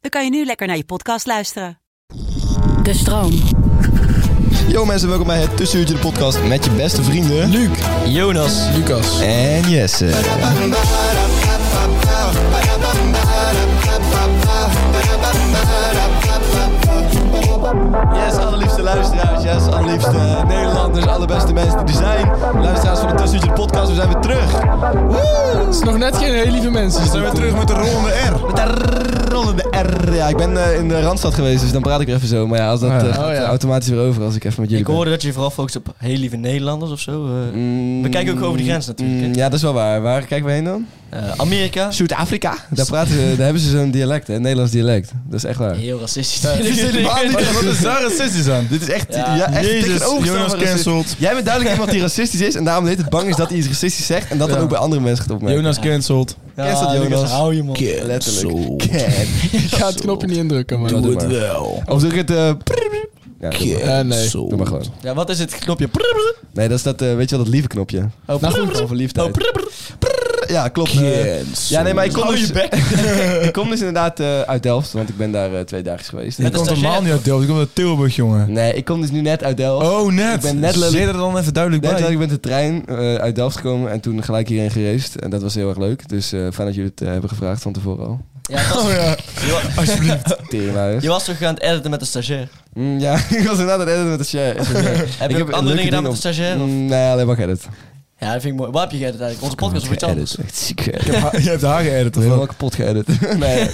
dan kan je nu lekker naar je podcast luisteren. De stroom. Yo mensen, welkom bij het Tussenuurtje de podcast met je beste vrienden... Luc, Jonas Lucas. en eh. Jesse. Yes, allerliefste luisteraars, yes, allerliefste Nederlanders, allerbeste mensen die er zijn. Luisteraars van het Tussenuurtje de podcast, we zijn weer terug. Woe! Het is nog net geen hele lieve mensen. Zijn we terug met de rollende R? Met de rollende R. Ja, ik ben eh, in de Randstad geweest, dus dan praat ik weer even zo. Maar ja, als dat Oh ja. eh, gaat, Oh ja. eh, automatisch weer over als ik even met jullie Ik hoorde dat je je vooral focust op heel lieve Nederlanders of zo. eh. ben. Mm, We kijken ook over de grens natuurlijk, hè? mm, ja, ah. dat is wel waar. Waar kijken we heen dan? Eh, Amerika. Zuid-Afrika. Daar, praten ze, daar hebben ze zo'n dialect, hè, een Nederlands dialect. Dat is echt waar. Heel racistisch. Ja, dit is helemaal niet- Wat is daar racistisch aan? Dit is echt, ja, Ja. echt Jezus, tegenovergestelde Jonas van racisme. cancelled. Jij bent duidelijk iemand die racistisch is en daarom de hele tijd bang is dat hij iets racistisch zegt en dat dan Ja. ook bij andere mensen gaat opmerken. Jonas cancelled. Ja, Is dat, Lucas, Jonas? hou je man. K- Letterlijk. Ken. Ik ga het knopje niet indrukken, maar dat doen we. wel. Of druk het... eh, prrrr. ja, doe maar. Eh, nee. Doe maar gewoon. Ja, wat is het knopje? Prrr, prrr. Nee, dat is dat, eh, weet je wel, dat lieve knopje. Oh, Nou, prrr, goed. prrr. Over liefde. Oh, prrr, prrr. Ja, klopt. eh. ja, nee, maar ik kom Hou dus, je bek. ik kom dus inderdaad eh, uit Delft, want ik ben daar eh, twee dagen geweest. Ik Met kom een helemaal stagiair. niet uit Delft. Ik kom uit Tilburg, jongen. Nee, ik kom dus nu net uit Delft. Oh, net. Ik ben net lelijk- Zit er dan even duidelijk Net bij. ik ben de trein eh, uit Delft gekomen en toen gelijk hierheen gereisd. En dat was heel erg leuk. Dus eh, fijn dat jullie het eh, hebben gevraagd van tevoren al. Ja, dat- Oh ja, je, wa- alsjeblieft. Teringluiers. je was toch aan het editen met de stagiair? Mm, ja, ik was inderdaad aan het editen met de share. Heb je ook andere dingen gedaan met de stagiair? of- Mm, nee, alleen maar geëdit. Ja, dat vind ik mooi. Waar heb je geëdit eigenlijk? Onze podcast of iets anders? Geëdit, echt ziek eh. geëdit. Je hebt haar- je hebt haar geëdit, of Helemaal wel? kapot geëdit. nee,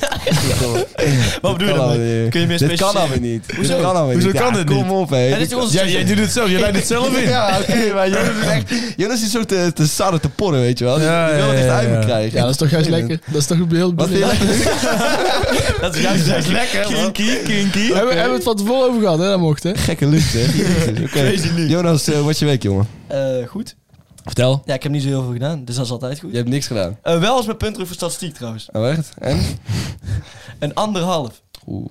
Wat bedoel kan je dan? alweer niet. Kun je meer Dit kan specificeren? alweer niet. Hoezo? Dit kan alweer Hoezo niet. kan Ja, dit niet? Kom op, hé. Ja, dit is onze Jij, jij stagiair. doet het zelf. Je leidt het zelf in. Ja, oké, maar Jonas is echt... Jonas is zo te, te sarre te porren, weet je wel. Die Ja, die wil ja, het echt ja, uit me ja. krijgen. Ja, dat is toch juist lekker. Dat is toch een heel Wat vind je bedoeling. lekker? Dat is juist dat is lekker. Kinky, kinky. We hebben, hebben we het van tevoren over gehad, hè? Dat mocht, hè? Gekke lucht, hè? Jezus, oké. Crazy Luke. Jonas, eh, wat je week, jongen? Eh, Goed. Vertel. Ja, ik heb niet zo heel veel gedaan, dus dat is altijd goed. Je hebt niks gedaan. Eh, wel eens mijn puntroef voor statistiek trouwens. Oh, echt? En? Een anderhalf. Oeh.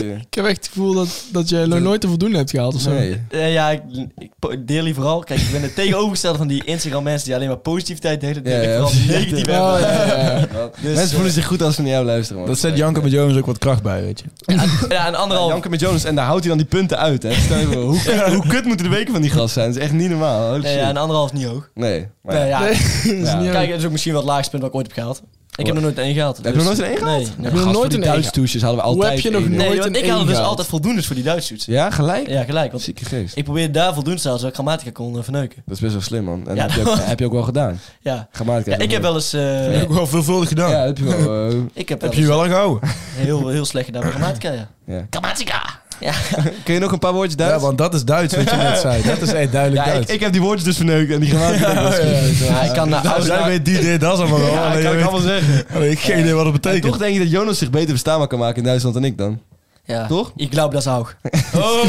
Ik heb echt het gevoel dat, dat jij nog nooit te voldoende hebt gehaald of zo. Oh, Nee. Eh, ja, ik, ik po- deel hier vooral. Kijk, ik ben het tegenovergestelde van die Instagram-mensen die alleen maar positiviteit delen. Deel Ja, ik ja. vooral negatief Oh, ja, ja, ja. Mensen voelen zich goed als ze naar jou luisteren, man. Dat zet Janke met Jonas ook wat kracht bij, weet je. Ja, een Ja, anderhalf. Janke met Jonas en daar houdt hij dan die punten uit, hè? Stel je voor, hoe, hoe kut moeten de weken van die gast zijn? Dat is echt niet normaal. Holy Nee, ja, shit. een anderhalf is niet hoog. Nee. maar Nee, ja. ja. nou- Nee, dat is Ja. niet Kijk, Kijk, dat is ook misschien wel het laagste punt wat ik ooit heb gehaald. Ik heb nog nooit één gehaald. Heb je nog nooit een één gehaald? Nee, nee. Heb je nog Gast, voor nooit die een één Duits toesjes hadden we Hoe altijd heb je nog één. nooit- Nee, want een ik haal één dus gehaald. altijd voldoendes voor die Duitsers. Ja, gelijk? Ja, gelijk. Want Zieke geest. ik probeerde daar voldoende te halen, zodat ik grammatica kon eh, verneuken. Dat is best wel slim, man. En Ja, dat heb, je ook, heb je ook wel gedaan. Ja. Grammatica. ja ik heb wel eens... eh, Ook wel veelvuldig gedaan. Ja, dat heb je wel. eh, Ik heb wel Heb je eens wel een gehouden? heel, heel slecht gedaan met grammatica, ja. ja. Grammatica! Kun je nog een paar woordjes Ja, Duits? want dat is Duits, wat je net zei. Dat is echt duidelijk Ja, ik, Duits. ik heb die woordjes dus verneukt en die grammatica. dat is goed. Ja, ik kan naar Nou, jij Ausla- weet die dit, dat is allemaal wel. Ja, Alleen dat kan jij ik weet- allemaal zeggen. Alleen ik heb geen idee wat het En betekent. toch denk je dat Jonas zich beter bestaanbaar kan maken in Duitsland dan ik dan. Ja. Toch? Ik geloof dat is ook.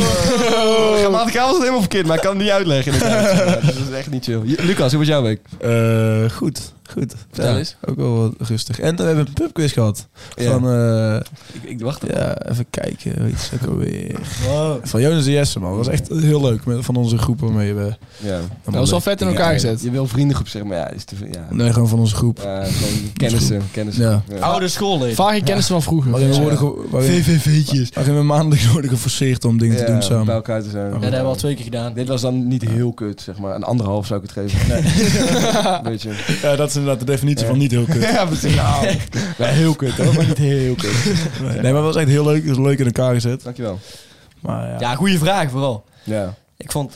Oh. Grammatica was het helemaal verkeerd, maar ik kan het niet uitleggen. in het Duits. Ja, dus dat is echt niet chill. Je- Lucas, hoe was jouw week? Eh, goed, goed. Vertel Ja, eens. Ook wel wat rustig. En we hebben een pubquiz gehad. Van, eh, Ik, ik wacht ja, even kijken. Weet je, ook alweer. Wow. Van Jonas en Jesse, man. Dat was echt heel leuk. Met, van onze groep waarmee we... Ja. dat was wel vet in elkaar gezet. Je wil vriendengroep zeg maar ja, is te veel. Ja. Nee, gewoon van onze groep. Eh, gewoon kennissen, kennissen. Ja. Oude schoolleden. Vage kennis van vroeger. Waarin we, Ja. worden ge- waarin, VVV'tjes. waarin we maandelijk worden geforceerd om dingen Ja, te doen Bij samen. elkaar te zijn. Ja, Ja, dat hebben we al twee keer gedaan. Dit was dan niet heel kut, zeg maar. Een anderhalf zou ik het geven. Beetje. Ja, dat is inderdaad de definitie van niet heel kut. Ja, precies. Nou, Ja, heel kut hoor, maar niet heel kut. Nee, maar het was echt heel leuk, het was leuk in elkaar gezet. Dankjewel. Maar ja. Ja, goede vraag vooral. Ja. Ik vond...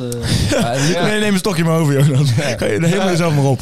eh, Nee, neem een stokje maar over, Jonas. Ga je- Neem maar jezelf maar op.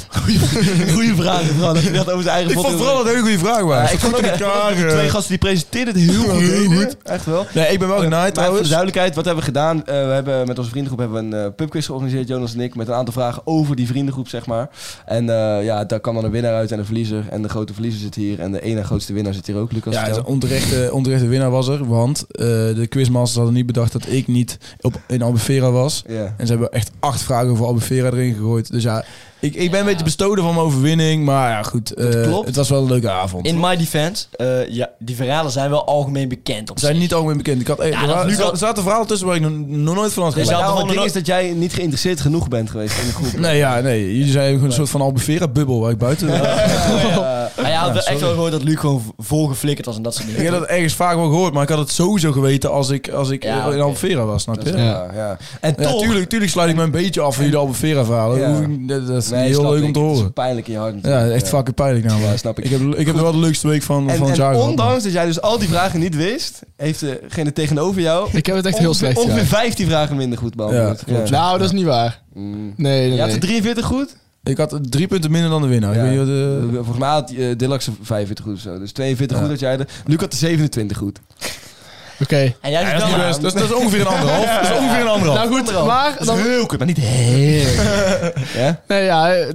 goede vraag vooral. Dat je dat over zijn eigen Ik vond podcast- vooral dat een hele goede vraag Ja, was. ik vond ook in echt- elkaar. De twee gasten die presenteerden het heel, Heel goed. goed. deden. Echt wel. Nee, ik ben wel genaaid Maar voor de trouwens. duidelijkheid, wat hebben we gedaan? Eh, we hebben met onze vriendengroep hebben we een eh, pubquiz georganiseerd, Jonas en ik, met een aantal vragen over die vriendengroep, zeg maar. En eh, ja, daar kan dan een winnaar uit en een verliezer. En de grote verliezer zit hier en de ene grootste winnaar zit hier ook, Lucas. Ja, vertel. een onterechte, onterechte winnaar was er, want eh, de quizmasters hadden niet bedacht dat ik niet op, in Albufeira was. Ja. En ze hebben echt acht vragen voor Albufeira erin gegooid. Dus ja, ik, ik ben een beetje bestolen van mijn overwinning, maar ja, goed. eh, klopt. Het was wel een leuke avond. In my defense, eh, ja, die verhalen zijn wel algemeen bekend. Op Ze zijn zich. niet algemeen bekend. Ik had, eh, Ja, er, dat wa- nu er wel- zaten verhalen tussen waar ik nog, nog nooit van had Dus gehoord. je Maar had nou, gewoon het ding no- is dat jij niet geïnteresseerd genoeg bent geweest in de groep. Nee, ja, nee. Jullie zijn gewoon een soort van Albufeira-bubbel waar ik buiten... Maar Ah ja, had echt wel gehoord dat Luc gewoon v- volgeflikkerd was en dat soort Ik dingen. heb dat ergens vaak wel gehoord, maar ik had het sowieso geweten als ik, als ik Ja, eh, in oké. Albufeira was, snap je? Ja, ja. En Ja, toch... tuurlijk, tuurlijk sluit ik me een beetje af van jullie Albufeira verhalen. Ja. Hoef ik- Dat, dat is Nee, heel snap leuk ik. om te Het is horen. pijnlijk in je hart natuurlijk. Ja, echt fucking pijnlijk nou. Ja, snap ik. Ik heb, ik heb wel de leukste week van, En, van het en jaar gehad, man. ondanks dat jij dus al die vragen niet wist, heeft degene tegenover jou Ik heb het echt heel ongeveer, slecht ongeveer gedaan. 15 vragen minder goed beantwoord. Ja, klopt. Nou, Nou, dat is niet waar. Mm. Nee, nee, Je had er nee. 43 goed? Ik had drie punten minder dan de Ja. winnaar. Ik weet niet wat, eh, Eh, Volgens mij had eh, Dillax er 45 goed of zo. Dus 42 Ja. goed dat jij er. Luc had er 27 goed. Oké. En jij ja, dat, is vertelde- niet best. Dat is- dat is ongeveer een anderhalf. Dat is ongeveer een anderhalf. Nou goed, maar... Dan, Heel kut, maar niet heel. ja? nee, ja, eh,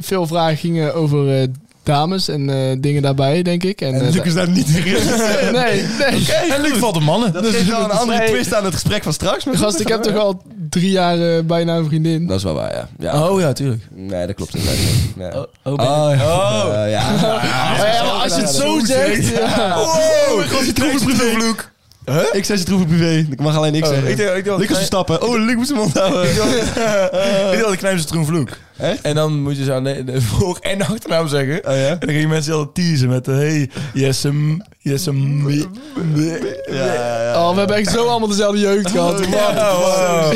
veel vragen gingen over eh, dames en eh, dingen daarbij, denk ik. En, eh, is daar niet in. da- nee, nee. en Luc valt de mannen. Dus Dat is wel Dus een andere Nee. twist aan het gesprek van straks. Maar Gast, ik heb toch al drie jaar eh, bijna een vriendin. Dat is wel waar, ja. ja. Oh ja, tuurlijk. Nee, dat klopt inderdaad. Ja. Oh, Oh, ja. Eh, ja. Maar Oh, ja, maar als je het zo zegt... ja. Oh, Wow, ik was die troevenbrief Ik zet je troeven privé. Ik mag alleen niks zeggen. Oh, Ik dacht- ik dacht- Luc is stappen. Oh, Luc moet zijn mond houden. Eh. Ik dacht, ik knijp ze troenvloek. Echt? En dan moet je ze aan de, de voor- en de achternaam zeggen. Oh ja? En dan gingen mensen altijd teasen met... eh, Hey, yes, um, yes, um, me- me- Oh, we hebben echt zo allemaal dezelfde Oh. jeugd gehad. Ja, wow.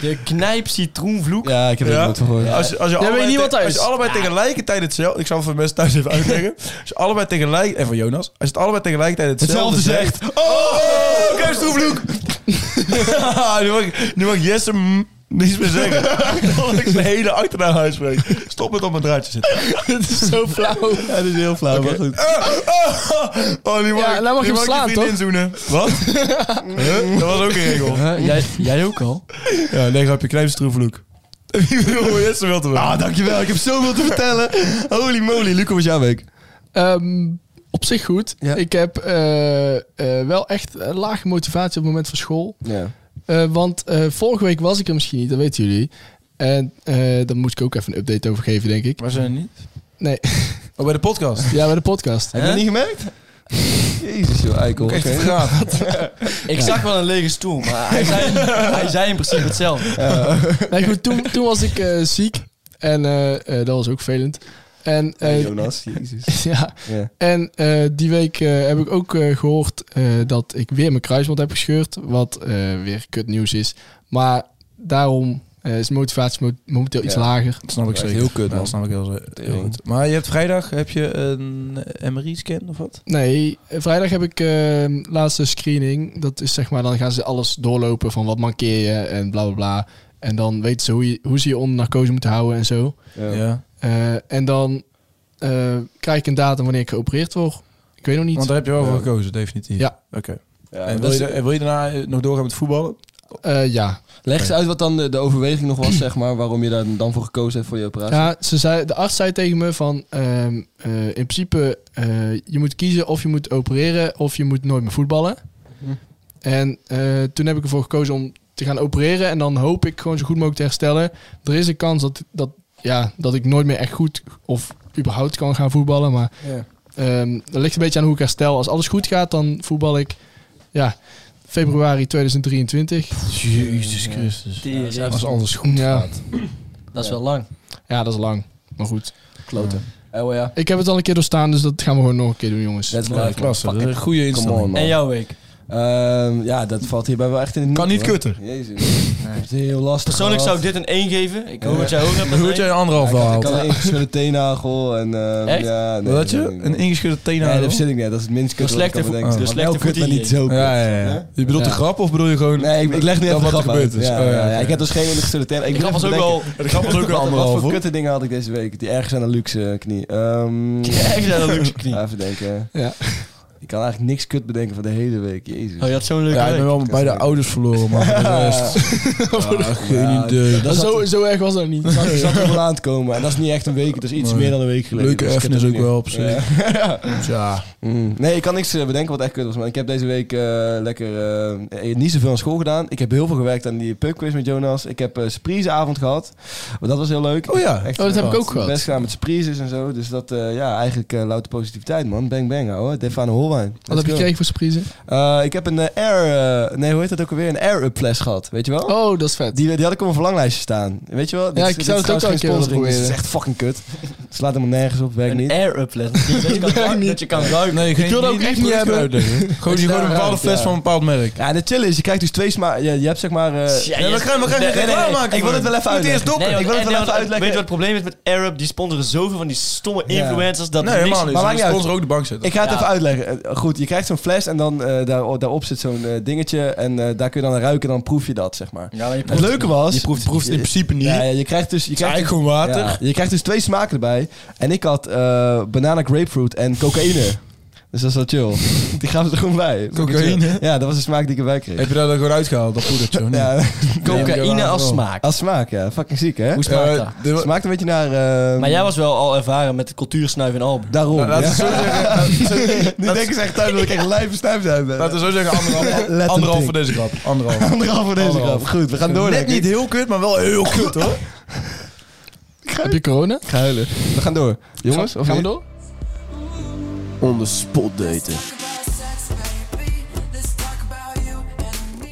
De knijp citroenvloek. Ja, ik heb er Ja? nooit van gehoord. Als je, als je weet allebei, niet te- wat dat als je is. allebei tegelijkertijd hetzelfde... Ik zal het voor de mensen thuis even uitleggen. Als je allebei tegelijk... En voor Jonas. Als je het allebei tegelijkertijd hetzelfde, Hetzelfde zegt. zegt... Oh, oh, kijk eens troenvloek. nu, mag, ik- nu mag ik yes, um, niets meer zeggen. Dat ik zijn hele achternaam uitspreek. Stop met op mijn draadje zitten. Het is zo flauw. Ja, dat is heel flauw, maar goed. Oh, nu mag, Ja, ik- nou mag je nu mag hem slaan, ik je vriendin zoenen. Wat? Huh? Dat was ook een regel. Jij, jij ook al? Ja, nee, grapje, knijpstroevloek. Oh, yes, wel te Ah, dankjewel. Ik heb zoveel te vertellen. Holy moly. Luc, hoe was jouw week? Ehm, op zich goed. Ja. Ik heb eh, eh, wel echt eh, lage motivatie op het moment van school. Ja. Eh, want eh, vorige week was ik er misschien niet, dat weten jullie. En eh daar moet ik ook even een update over geven, denk ik. Maar zijn niet? Nee, Oh, bij de podcast. ja, bij de podcast. Heb je dat niet gemerkt? Jezus, joh, eikel. Echt Oké. gaaf. Ik zag wel een lege stoel, maar hij zei, hij zei in principe hetzelfde. Nee, goed, toen, toen was ik eh, ziek. En eh, eh, dat was ook vervelend. En, eh, Jonas, jezus. ja, Ja. en eh, die week eh, heb ik ook eh, gehoord eh, dat ik weer mijn kruisband heb gescheurd. Wat eh, weer kut nieuws is. Maar daarom eh, is motivatie mo- momenteel iets Ja. lager. Dat snap ik Dat is zeker. heel kut, Ja, man. Dat snap ik heel, heel Tering. goed. Maar je hebt vrijdag heb je een eh, MRI-scan of wat? Nee, eh, vrijdag heb ik eh, laatste screening. Dat is zeg maar, dan gaan ze alles doorlopen van wat mankeer je en bla bla bla. En dan weten ze hoe, je, hoe ze je onder narcose moeten houden en zo. Ja. Eh, en dan eh, krijg ik een datum wanneer ik geopereerd word. Ik weet nog niet. Want daar heb je wel voor Ja. gekozen, definitief. Ja. Oké. Ja, en dat wil is- je, en wil je daarna eh, nog doorgaan met voetballen? Eh, ja. Leg eens uit wat dan de, de overweging nog was, zeg maar. Waarom je daar dan voor gekozen hebt voor je operatie. ja ze zei, de arts zei tegen me van, ehm, eh, in principe, eh, je moet kiezen of je moet opereren of je moet nooit meer voetballen. Mhm. En eh, toen heb ik ervoor gekozen om te gaan opereren en dan hoop ik gewoon zo goed mogelijk te herstellen. Er is een kans dat, dat, ja, dat ik nooit meer echt goed of überhaupt kan gaan voetballen, maar Ja. Ehm, dat ligt een beetje aan hoe ik herstel. Als alles goed gaat, dan voetbal ik ja, februari 2023. Jezus Christus. Als alles goed ja. gaat. Dat is wel lang. Ja, dat is lang. Maar goed. Kloten. Oh ja. Ik heb het al een keer doorstaan, dus dat gaan we gewoon nog een keer doen, jongens. That's Ja, life, klasse. man. Dat is een goede Come on, instelling. man. En jouw week? Ehm, ja, dat valt hierbij wel echt in het Kan niet, niet hoor. kutter. Jezus. Het is heel lastig. Persoonlijk zou gehad. ik dit een 1 geven. Ik hoop dat jij ook hebt. Hoe had jij een anderhalf Ja, ik had- gehaald? Ik had een ingeschudde teennagel en... ehm, Echt? Ja, nee, Wat had je? dat weet ik niet. Een ingeschudde Nee, teenagel? dat zit ik net. Dat is het minst kut wat De ik slechte kan vo- bedenken. de Maar slechte wel kut, maar voeding. niet zo kut. ja, ja, ja. Hè? Je bedoelt de grap of bedoel je gewoon... Nee, ik, ik leg nu Dat even wat grap er gebeurd uit. is. Ja, Oh, ja, ja, ja. ja. Ik heb dus geen ingeschudde teen. Ik Ik moet grap was even ook bedenken. wel... De grap was ook een Wat anderhalf, voor hoor. kutte dingen had ik deze week? Die ergens aan een luxe eh, knie. Ehm, Echt een luxe knie. ja, even denken. Ja. Ik kan eigenlijk niks kut bedenken van de hele week. Jezus. Oh, je had zo'n leuke Ja, ik ben week. wel beide ouders verloren, maar voor de rest... Ja, geen Ja, idee. Dat zat, zo, zo erg was dat niet. zat, zat er wel aan te komen. En dat is niet echt een week. Dat is iets Nee. meer dan een week geleden. Leuke Dus ik heb erfenis dat ook wel op Ja. zich. Ja. Mm. Nee, ik kan niks eh, bedenken wat echt kut was. Maar ik heb deze week eh, lekker eh, eh, niet zoveel aan school gedaan. Ik heb heel veel gewerkt aan die pubquiz met Jonas. Ik heb eh surpriseavond gehad. Maar dat was heel leuk. Oh ja. Echt, Oh, dat heb eh, ik ook gehad. Best gedaan met surprises en zo. Dus dat, eh, ja, eigenlijk eh louter positiviteit, man. Bang bang, ouwe. Defano Holwijn. Wat heb je gekregen voor surprise? ik heb een eh, air... eh, nee, hoe heet dat ook alweer? Een air-up fles gehad, weet je wel? Oh, dat is vet. Die, die had ik op mijn verlanglijstje staan. Weet je wel? ik zou het ook wel een keer willen Het is proberen. echt fucking kut. Het slaat helemaal nergens op, werkt Een niet. air-up letter. Dat je kan ruiken- Dat je kan ruiken. Nee, geen, wil dat ook echt niet hebben. Gewoon, je daar gewoon een bepaalde uit, fles ja. van een bepaald merk. Ja, en het chill is, je krijgt dus twee smaak... Je, je hebt zeg maar... eh, Ja, je- Nee, nee, nee. Ik wil het wel even uit. uitleggen. eerst doppen. Nee, Ik wil het en wel dan- even uitleggen. Weet je wat het probleem is met Arab? Die sponsoren zoveel van die stomme Ja. influencers. Dat Nee, er helemaal niet. niks- Maar Maar maakt niet sponsor ook de bank zetten. Ik ga het Ja. even uitleggen. Eh, Goed, je krijgt zo'n fles en dan eh, daar, daarop zit zo'n eh, dingetje. En eh, daar kun je dan aan ruiken en dan proef je dat, zeg maar. Ja, maar je Het proeft- leuke was... je proeft, je proeft het in principe niet. Ja, het ja, je krijgt dus... Je is krijgt eigenlijk gewoon dus, water. ja, je krijgt dus twee smaken erbij. En ik had eh banana grapefruit en cocaïne. Dus dat is wel chill. Die gaven ze er gewoon bij. Cocaïne? Ja, dat was de smaak die ik erbij kreeg. Heb je dat dan gewoon uitgehaald, dat poedertje? of niet? Ja, Cocaïne als wel. smaak. als smaak, ja. Fucking ziek, hè? Hoe smaakt dat? Eh, de- Smaakt een beetje naar... eh, Maar jij was wel al ervaren met de cultuursnuif in Alpen. Daarom. Nou, laten ja. we zo zeggen, Nu denken ze echt thuis dat ik echt lijf verstuimd heb. laten we zo zeggen anderhalf, Letterlijk. anderhalf voor deze grap. Anderhalf. Anderhalf voor Oh. deze Anderhalf. grap. Goed, we gaan door. Net denk ik. niet heel kut, maar wel heel kut hoor. Heb je corona? Ik ga huilen. We gaan door. Jongens, of Gaan we niet? door? On the spot daten.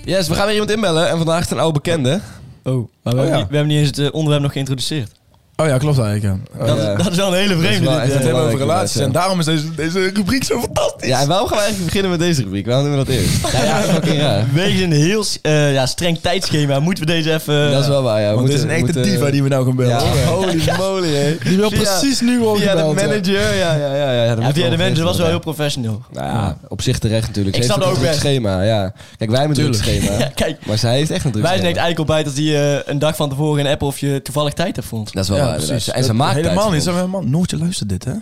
Yes, we gaan weer iemand inbellen. En vandaag is het een oude bekende. Oh, maar we, Oh, hebben ja. niet, we hebben niet eens het eh, onderwerp nog geïntroduceerd. Oh ja, klopt eigenlijk. Ja. dat, Oh, ja. dat is wel een hele vreemde. Dat is wel dit, echt Het eh. hebben we over belangrijk relaties inderdaad, en daarom is deze, deze rubriek zo fantastisch. Ja, en waarom gaan we eigenlijk beginnen met deze rubriek? Waarom doen we dat eerst? Ja, ja, fucking ja. Wegens een heel eh, ja, streng tijdschema moeten we deze even... eh, Dat is wel waar, ja. We Want dit is moeten- een echte moeten- diva die we nou gaan bellen. hoor. Ja, holy moly, hè. Die wil Via- precies nu worden Via de gebeld. ja. manager, ja, ja, ja. ja, dat moet ja, via de wel manager was wel heel geregeld professioneel. worden. Nou ja, op zich terecht natuurlijk. Ik Ze snap heeft dat een ook druk schema, ja. Kijk, wij hebben een druk Ja, schema. kijk. Maar zij heeft echt een druk Wij zijn schema. echt eikel bij dat hij eh, een dag van tevoren in app of je toevallig tijd hebt vond. Dat is wel Ja, waar, precies. precies. En ze Dat- maakt Helemaal tijd niet. voor Zijn we helemaal... Noortje luistert dit, hè?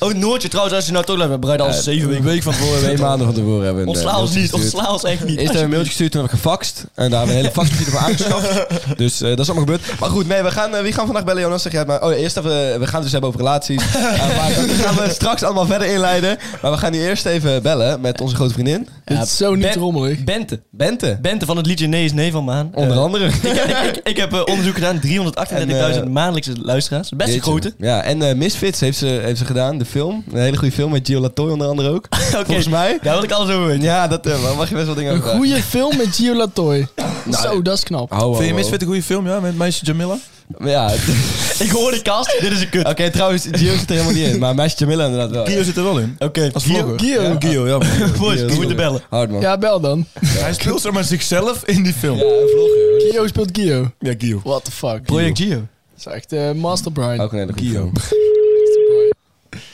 Oh, Noortje trouwens, als je nou toch blijft, we bereiden al zeven weken. van tevoren, twee maanden van tevoren hebben we een, Ontsla eh, ons mailtje niet, gestuurd. ontsla ons echt niet. Eerst hebben we een mailtje gestuurd, toen hebben we gefaxt. En daar hebben we een hele faxmachine voor aangeschaft. Dus eh, dat is allemaal gebeurd. Maar goed, nee, we gaan, eh, wie gaan we vandaag bellen, Jonas? Zeg jij het maar. Oh, ja, eerst even, eh, we gaan het dus hebben over relaties. Eh, maar dat gaan we straks allemaal verder inleiden. Maar we gaan nu eerst even bellen met onze grote vriendin, Dus Dit is zo niet Ben- rommelig. Bente. Bente. Bente van het liedje Nee is Nee van Maan. Eh, Onder andere. ik, heb- ik, ik heb eh, onderzoek gedaan, 338.000 En, eh, maandelijkse luisteraars. Best een Jeetje. grote. Ja, en eh, Misfits heeft ze, heeft ze gedaan, de film. Een hele goede film met Gio Latoy onder andere ook. Volgens mij. Daar wil ik alles over weten. Ja, dat eh, mag je best wel dingen Een over vragen. goede film met Gio Latoy. Nou, Ah. Zo, dat is knap. Hou, hou, Vind je hou. Misfit een goede film, ja? Met meisje Jamila? Ja. Oké, Ik hoor de kast, dit is een kut. Oké, trouwens, Gio zit er helemaal niet in. Maar meisje Jamila inderdaad wel. Gio zit er wel in. Als vlogger. Gio. Ja, Gio, ja. man. boys, we Gio. moeten bellen. Hard man. Ja, bel dan. Hij speelt zomaar zichzelf in die film. Ja, een vlogger. Gio speelt Gio. Gio. What the fuck. Project Gio. Dat is echt eh, Master Brian. Ook een hele goede Gio. film.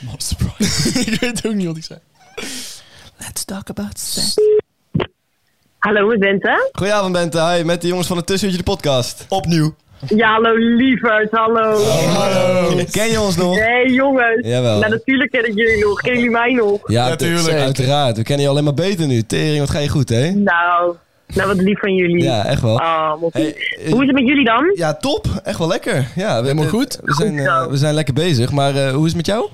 Master Brian. ik weet ook niet wat ik zei. Let's talk about sex. Hallo, ik ben Bente. Goedenavond Bente, hi, met de jongens van het Tussenuurtje de podcast. Opnieuw. Ja, hallo lieverd, hallo. Hallo. Ken je ons nog? Hey jongens. Jawel. Nou, natuurlijk ken ik jullie nog. Ken jullie mij nog? Ja, tuurlijk. zeker. Uiteraard, we kennen je alleen maar beter nu. Tering, wat ga je goed hè? Nou, nou wat lief van jullie. Ja, echt wel. Ah, wat lief. Hey, eh, Hoe is het met jullie dan? Ja, top. Echt wel lekker. Ja, we, Helemaal we- goed. We zijn, eh, zo. we zijn lekker bezig, maar eh, hoe is het met jou?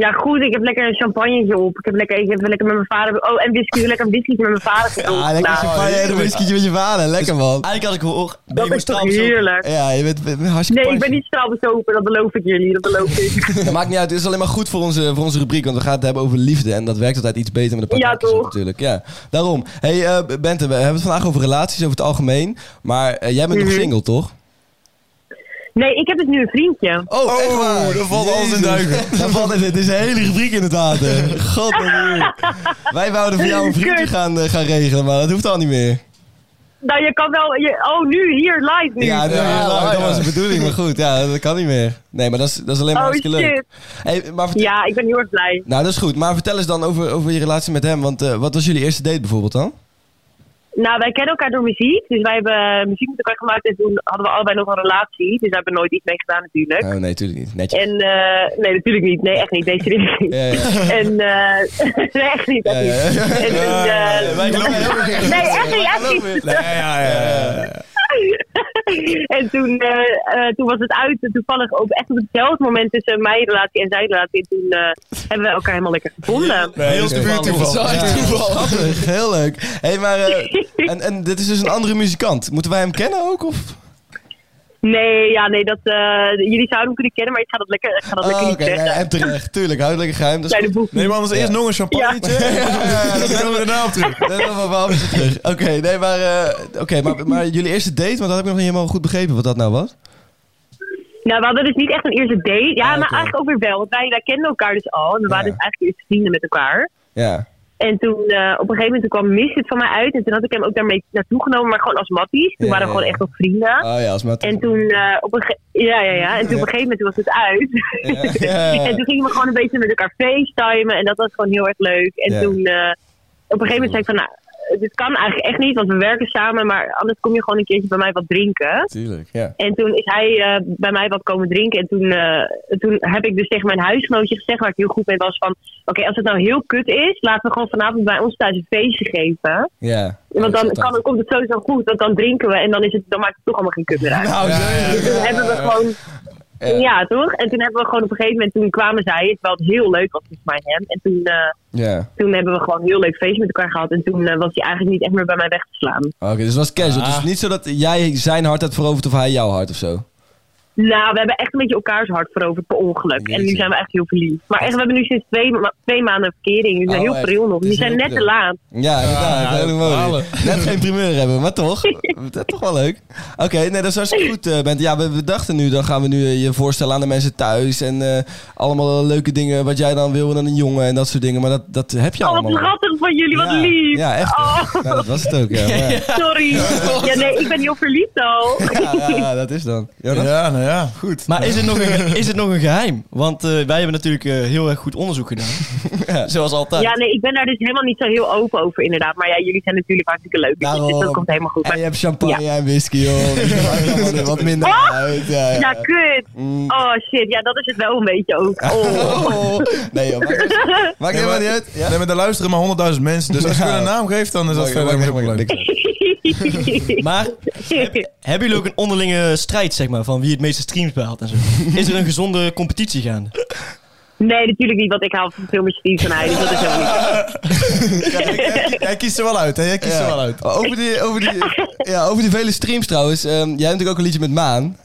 Ja, goed. Ik heb lekker een champagnetje op. Ik heb lekker, ik heb lekker met mijn vader... Oh, en whisky. Ik heb Lekker een whisky met mijn vader gedronken. Ah, lekker Nou, Ah, champagne en een whiskytje met je vader. Lekker man. Eigenlijk als ik hoor, ben je Dat gewoon is toch straal zo. heerlijk. Ja, je bent, bent hartstikke Nee, ik pantje. ben niet straalbezopen. Dat beloof ik jullie. Dat beloof ik. Dat maakt niet uit, het is alleen maar goed voor onze, voor onze rubriek, want we gaan het hebben over liefde. En dat werkt altijd iets beter met de Ja, podcast toch? natuurlijk. Ja, daarom. Hey eh, Bente, we hebben het vandaag over relaties, over het algemeen. Maar eh, jij bent nog Mhm. single, toch? Nee, ik heb dus nu een vriendje. Oh, echt waar? Dan valt alles in duigen. Daar valt het, het is een hele rubriek inderdaad. hè. God, wat moeilijk. Wij wouden voor jou een vriendje gaan, eh, gaan regelen, maar dat hoeft al niet meer. Nou, je kan wel... Je, oh, nu, hier, live nu. Ja, dat, Ja, dat ja. was de bedoeling, maar goed, ja, dat kan niet meer. Nee, maar dat is, dat is alleen maar oh, shit. hartstikke leuk. Hey, maar vertel- Ja, ik ben heel erg blij. Nou, dat is goed. Maar vertel eens dan over, over je relatie met hem. Want eh, wat was jullie eerste date bijvoorbeeld dan? Nou, wij kennen elkaar door muziek. Dus wij hebben muziek met elkaar gemaakt. En toen hadden we allebei nog een relatie. Dus daar hebben we nooit iets mee gedaan natuurlijk. Oh, nee, tuurlijk niet. Netjes. En eh, nee, natuurlijk niet. Nee, echt niet. Deze serieus niet. Ja, ja. En eh nee, echt niet. Echt niet. En toen, eh, Wij geloven helemaal geen nee, echt niet. Echt niet. ja, ja, ja. en toen, eh, eh, toen was het uit. En toevallig ook echt op hetzelfde moment tussen mijn relatie en zijn relatie. En toen eh, hebben we elkaar helemaal lekker gevonden. Heel de buurt toeval. Grappig, heel leuk. hey, maar eh, en, en dit is dus een andere muzikant. Moeten wij hem kennen ook? Of? Nee, ja, nee, dat, eh, jullie zouden hem kunnen kennen, maar ik ga dat lekker, ik ga dat lekker Oh, niet Oké, nee, zeggen. en terecht. Tuurlijk, houd het lekker geheim. Dat is Kleine boef. Nee, maar anders eerst nog een champagnetje. Ja, ja, ja, Dan dat kunnen we daarna op terug. Dat is wel wel weer terug. Oké, nee, maar, eh, oké, maar, maar jullie eerste date, want dat heb ik nog niet helemaal goed begrepen wat dat nou was. Nou, we hadden dus niet echt een eerste date. Ja, maar Ah, oké. eigenlijk ook weer wel. Want wij, wij kenden elkaar dus al. En we waren Ja. dus eigenlijk eerst vrienden met elkaar. Ja. En toen, eh, op een gegeven moment, toen kwam Miss het van mij uit. En toen had ik hem ook daarmee naartoe genomen, maar gewoon als matties. Toen Ja, ja, waren we gewoon ja. echt nog vrienden. Oh ja, als maar. En toen, eh, op een ge- ja, ja, ja. En toen op een gegeven moment was het uit. Ja. en toen gingen we gewoon een beetje met elkaar facetimen. En dat was gewoon heel erg leuk. En Ja. toen, eh, op een gegeven moment zei ik van, nou, dit kan eigenlijk echt niet, want we werken samen. Maar anders kom je gewoon een keertje bij mij wat drinken. Tuurlijk, ja. En toen is hij eh, bij mij wat komen drinken. En toen, eh, toen heb ik dus tegen mijn huisgenootje gezegd, waar ik heel goed mee was, van... Oké, als het nou heel kut is, laten we gewoon vanavond bij ons thuis een feestje geven. ja. Oh, Want Ja, dan dat is kan, altijd- komt het sowieso goed, want dan drinken we en dan, is het, dan maakt het toch allemaal geen kut meer uit. Oh, Nou, Dus toen hebben we gewoon. Ja. toch? En toen hebben we gewoon op een gegeven moment, toen kwamen zij, terwijl het heel leuk was volgens mij hem. En toen, eh, Ja. toen hebben we gewoon een heel leuk feest met elkaar gehad. En toen eh, was hij eigenlijk niet echt meer bij mij weg te slaan. Oké, dus het was casual. Ah. Dus niet zo dat jij zijn hart had veroverd of hij jouw hart of zo. Nou, we hebben echt een beetje elkaars hart veroverd per ongeluk. En nu Jeetje. zijn we echt heel verliefd. Maar echt, we hebben nu sinds twee, ma- twee maanden verkering. We zijn Oh, heel echt? pril nog. Het is We zijn heel net pril. te laat. Ja, inderdaad. heel mooi. halen. Net geen primeur hebben, maar toch. Dat is toch wel leuk. Oké, nee, dat is hartstikke goed, eh, Bent. Ja, we, we dachten nu, dan gaan we nu eh, je voorstellen aan de mensen thuis. En eh, allemaal leuke dingen wat jij dan wil en een jongen en dat soort dingen. Maar dat, dat heb je Oh, allemaal. wat schattig van jullie, wat ja, lief. Ja, echt. hè. Oh, Ja, dat was het ook, ja. Maar ja. sorry. Ja, nee, ik ben heel verliefd al. Ja, ja, ja, dat is dan. Ja, dat- Ja, nou ja, goed. Maar is het nog een, is het nog een geheim? Want eh, wij hebben natuurlijk eh, heel erg goed onderzoek gedaan. Zoals altijd. Ja, nee, ik ben daar dus helemaal niet zo heel open over, inderdaad. Maar ja, jullie zijn natuurlijk hartstikke leuk. Dus, Daarom. eh, dus dat komt helemaal goed. En Maar- je hebt champagne en whisky, joh. Dat maakt allemaal er wat minder uit. Ja, ja. Ah! Ja, kut. mm. Oh shit, ja, dat is het wel een beetje ook. Oh. Oh. Nee, joh. Maakt, maakt Nee, helemaal maar, niet uit. Ja? nee, maar daar luisteren maar honderdduizend mensen. Dus als je Ja. een naam geeft, dan is dat Maakt- verder maakt helemaal leuk. niks uit. Maar hebben jullie ook een onderlinge strijd, zeg maar, van wie het meeste streams behaalt en zo? Is er een gezonde competitie gaande? nee, natuurlijk niet, want ik haal veel meer Steve van hij, dus dat is helemaal niet. Jij kiest er wel uit, hè? Jij kiest Ja. er wel uit. Over die, over, die, ja, over die vele streams trouwens. ehm, jij hebt natuurlijk ook een liedje met Maan.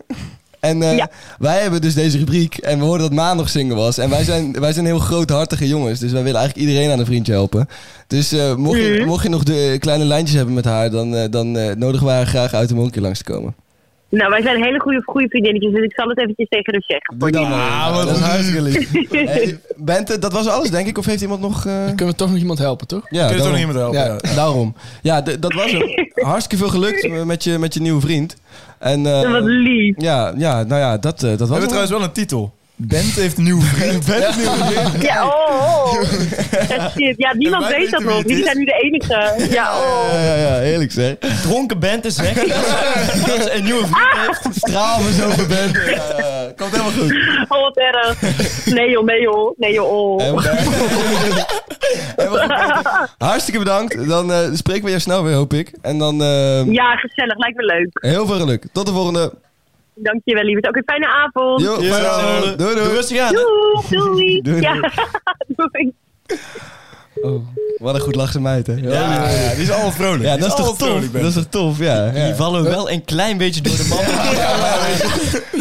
En eh, Ja. wij hebben dus deze rubriek. En we hoorden dat Maan nog zingen was. En wij zijn, wij zijn heel groothartige jongens. Dus wij willen eigenlijk iedereen aan een vriendje helpen. Dus eh, mocht, je, mocht je nog de kleine lijntjes hebben met haar... dan, eh, dan eh, nodigen we haar graag uit om ook een keer langs te komen. Nou, wij zijn hele goede, goede vriendinnetjes, dus ik zal het eventjes tegen hem zeggen. Doe dat maar. Ah, wat dat is lief. hartstikke lief. Hey, Bente, dat was alles denk ik. Of heeft iemand nog... eh, Dan kunnen we toch nog iemand helpen, toch? Ja, Kun je toch nog iemand helpen, Ja, daarom. Ja, d- dat was hem. Hartstikke veel gelukt eh, met je, met je nieuwe vriend. En, eh, Wat lief. Ja, ja, nou ja, dat, eh, dat We was hebben hem. trouwens wel een titel. Bent heeft een nieuwe vriend. Bent heeft een nieuwe vriend. Ja, oh. oh. Ja, shit. Ja, niemand En wij weet weten dat wie nog. het Jullie is. zijn nu de enige. Ja, oh. Ja, ja, ja, heerlijk zeg. Dronken band is weg. Dat ze een nieuwe vriend heeft. Straal me zo voor Bente. Ja, ja, ja. Komt helemaal goed. Oh, wat erg. Nee joh, nee joh. Nee joh, oh. Helemaal goed. Helemaal goed, Bente. Hartstikke bedankt. Dan eh, spreken we jou snel weer, hoop ik. En dan eh, Ja, gezellig. Lijkt me leuk. heel veel geluk. Tot de volgende. Dankjewel, lieverd. Oké, fijne avond. Jo, Oh, fijne avond. Doei, doei. Doe rustig aan. hè? Doei. Doei. Doei, Ja, doei. Oh, wat een goed lachse meid, hè? Ja, ja, die is allemaal vrolijk. Ja, Die dat is toch allemaal tof? vrolijk, Dat Oh, Ben. is toch tof, ja. ja. Die vallen wel een klein beetje door de man.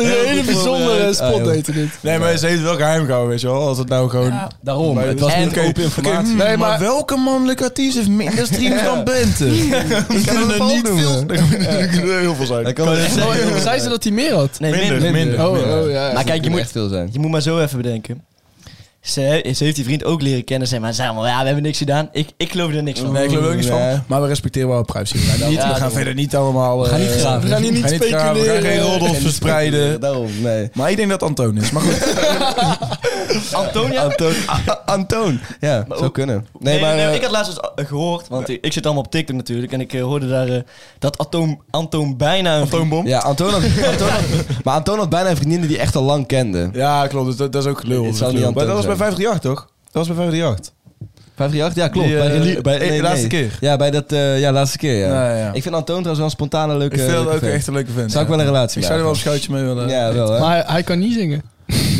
Een hele bijzondere spotdate dit. Ah, Nee, maar ze heeft wel geheim gehouden, weet je wel. Als het nou gewoon... Daarom, Maar het was en- niet oké, hmm. open informatie. oké, Nee, maar- welke mannelijke artiest heeft minder streams dan Bente? Ik kan het er wel niet noemen. veel... Dat kan er heel veel zijn. Dat kan wel echt Oh, zei ze dat hij meer had? Nee, minder. Minder, minder. Oh, oh, ja. Maar kijk, je moet, echt veel zijn. je moet maar zo even bedenken. Ze, ze heeft die vriend ook leren kennen. Zeg maar, zei allemaal, ja, we hebben niks gedaan. Ik, ik geloof er niks van. Nee, ik geloof er ook niks Nee. van. Maar we respecteren wel privacy. Maar dat- Ja, we gaan daarom. verder niet allemaal... eh, gaan niet graven. We gaan hier niet graven, We gaan geen roddels verspreiden. Daarom, nee. Maar ik denk dat Antoon is. Maar goed. Antonia? Antoon. Antoon. Ja, zou ook- kunnen. Nee, nee, nee, eh, ik had laatst eens, eh, gehoord, want ik, ik zit allemaal op TikTok natuurlijk. En ik eh, hoorde daar eh, dat Antoon, Antoon bijna een vriend- Atoombom. eh, Ja, Antoon had, Antoon had- maar Antoon had bijna een vriendin die hij echt al lang kende. Ja, klopt. Dus dat, dat is ook gelul. Het Dat is zou gelul. niet Antoon Maar dat was bij zijn. 538, toch? Dat was bij 538. 538, ja klopt. Die, bij eh, Relie- bij, eh, laatste keer. Ja, bij dat, eh, ja, laatste keer, ja. Ja, ja. Ik vind Antoon trouwens wel een spontane leuke Ik vind eh, dat leuke ook vent. echt een leuke vent. Zou ik ja. wel een relatie Ik zou er wel mee een schoutje mee willen. Ja, wel hè. Maar hij kan niet zingen.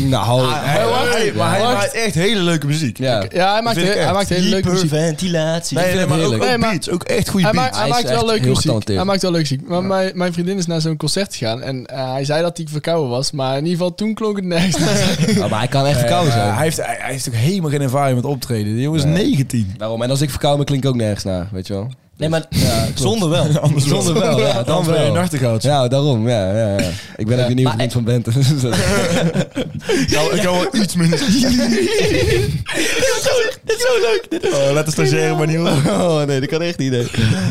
nou, Hey, hey, Ah, maar hij maakt echt hele leuke muziek. ja. Ja, hij maakt, vind ik heel- hij echt maakt hele leuke muziek. Hyperventilatie. Nee, nee, hem maar ook, ook heerlijk. Nee, maar- beats. Ook echt goede Hij, beats. maakt, hij Hij is maakt wel echt leuke heel muziek. getalenteerd. Hij maakt wel leuke muziek. Maar mijn, mijn vriendin is naar zo'n concert gegaan. En eh, hij zei dat hij verkouden was. Maar in ieder geval toen klonk het nergens. Oh, maar hij kan echt verkouden Ja, zijn. hij, heeft, hij, hij heeft ook helemaal geen ervaring met optreden. Die jongen is 19. Daarom, en als ik verkouden ben, klink ik ook nergens naar, weet je wel. Nee, maar zonder wel. Zonder wel, ja, dan Dan ben je een wel. nachtegaal. Ja, daarom, ja, ja, ja. Ik ben ook een nieuwe vriend van Bente. Dus dat- Ik kan wel Oh, iets minder. Dit is zo leuk. Dit is- Oh, laat de stagiaire maar niet horen. Oh nee, dat kan echt niet. nee.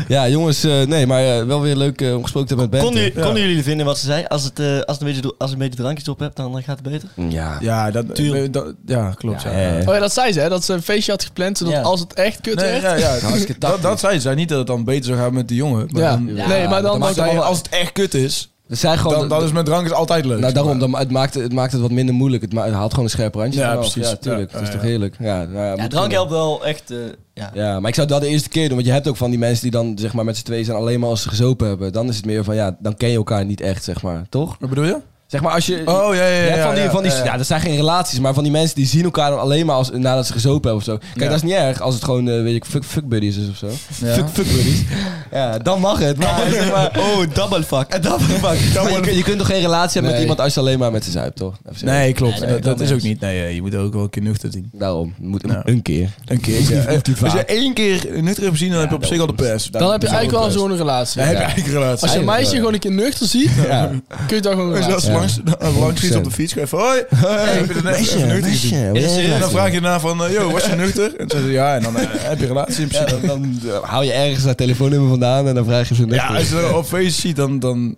Ja, jongens, eh, nee, maar eh, wel weer leuk eh, om gesproken te hebben met Konden, Bente. jullie- konden jullie vinden wat ze zei? Als, het, eh, als, het een beetje, do- als een beetje drankjes op hebt, dan eh, gaat het beter. Ja. Ja, dat, Tuurlijk. dat- ja klopt. Ja, ja, ja. Oh ja, dat zei ze, hè? Dat ze een feestje had gepland, zodat Ja. als het echt kut Nee, werd... ja, ja. Hartstikke Dat, dat zei ze. Zei Niet dat het dan beter zou gaan met die jongen. Maar Ja. dan- Ja, Nee, maar dan- Maar dan- zei je, als het echt kut is, Dat zijn gewoon... dan, dan is met drank is altijd leuk. nou, daarom, dan, het, maakt, het maakt het wat minder moeilijk. Het, ma- het haalt gewoon een scherp randje. Ja, ervan af. precies. Ja, tuurlijk. Ja, dat is ja, toch ja. heerlijk. Ja, nou ja, Ja, moet drank kunnen. helpt wel echt. eh, ja. Ja, maar ik zou dat de eerste keer doen. Want je hebt ook van die mensen die dan zeg maar, met z'n tweeën zijn alleen maar als ze gezopen hebben. Dan is het meer van, ja, dan ken je elkaar niet echt, zeg maar. Toch? Wat bedoel je? Zeg maar als je... Oh, ja, ja, je ja. hebt van die, ja, van die, ja, ja, ja. dat zijn geen relaties, maar van die mensen die zien elkaar dan alleen maar als, nadat ze gezopen hebben of zo. Kijk, Ja. dat is niet erg als het gewoon, eh, weet ik, fuck, fuck buddies is of zo. Fuck, fuck buddies. Ja, dan mag het. Maar, zeg maar, Oh, double fuck. En dan, maar je, kunt- je kunt toch geen relatie hebben met Nee. iemand als je alleen maar met ze zuipt, toch? Even zeggen. Nee, klopt. Nee, dat dat dan is ook is- niet. Nee, eh, je moet ook wel een keer nuchter zien. Daarom, moet Nou. een keer. Een keer. ja. vaak. Als je één keer nuchter hebt gezien, dan heb je op zich al de pers. Dan heb je Ja, eigenlijk wel best. zo'n relatie. Dan heb je eigenlijk een relatie. Als je een eigenlijk meisje wel, gewoon een keer nuchter ziet, Ja. kun je dan gewoon een Als je relatie. als langs, langs fiets op de fiets gaat van hoi, hey, ik ben er net even nuchter gezien. En dan vraag je daarna van, eh, yo, was je nuchter? En dan zeggen ze ja, en dan eh, heb je een relatie in Ja, principe. dan, dan eh, hou je ergens haar telefoonnummer vandaan en dan vraag je ze Ja, als je dat op feest ziet, dan, dan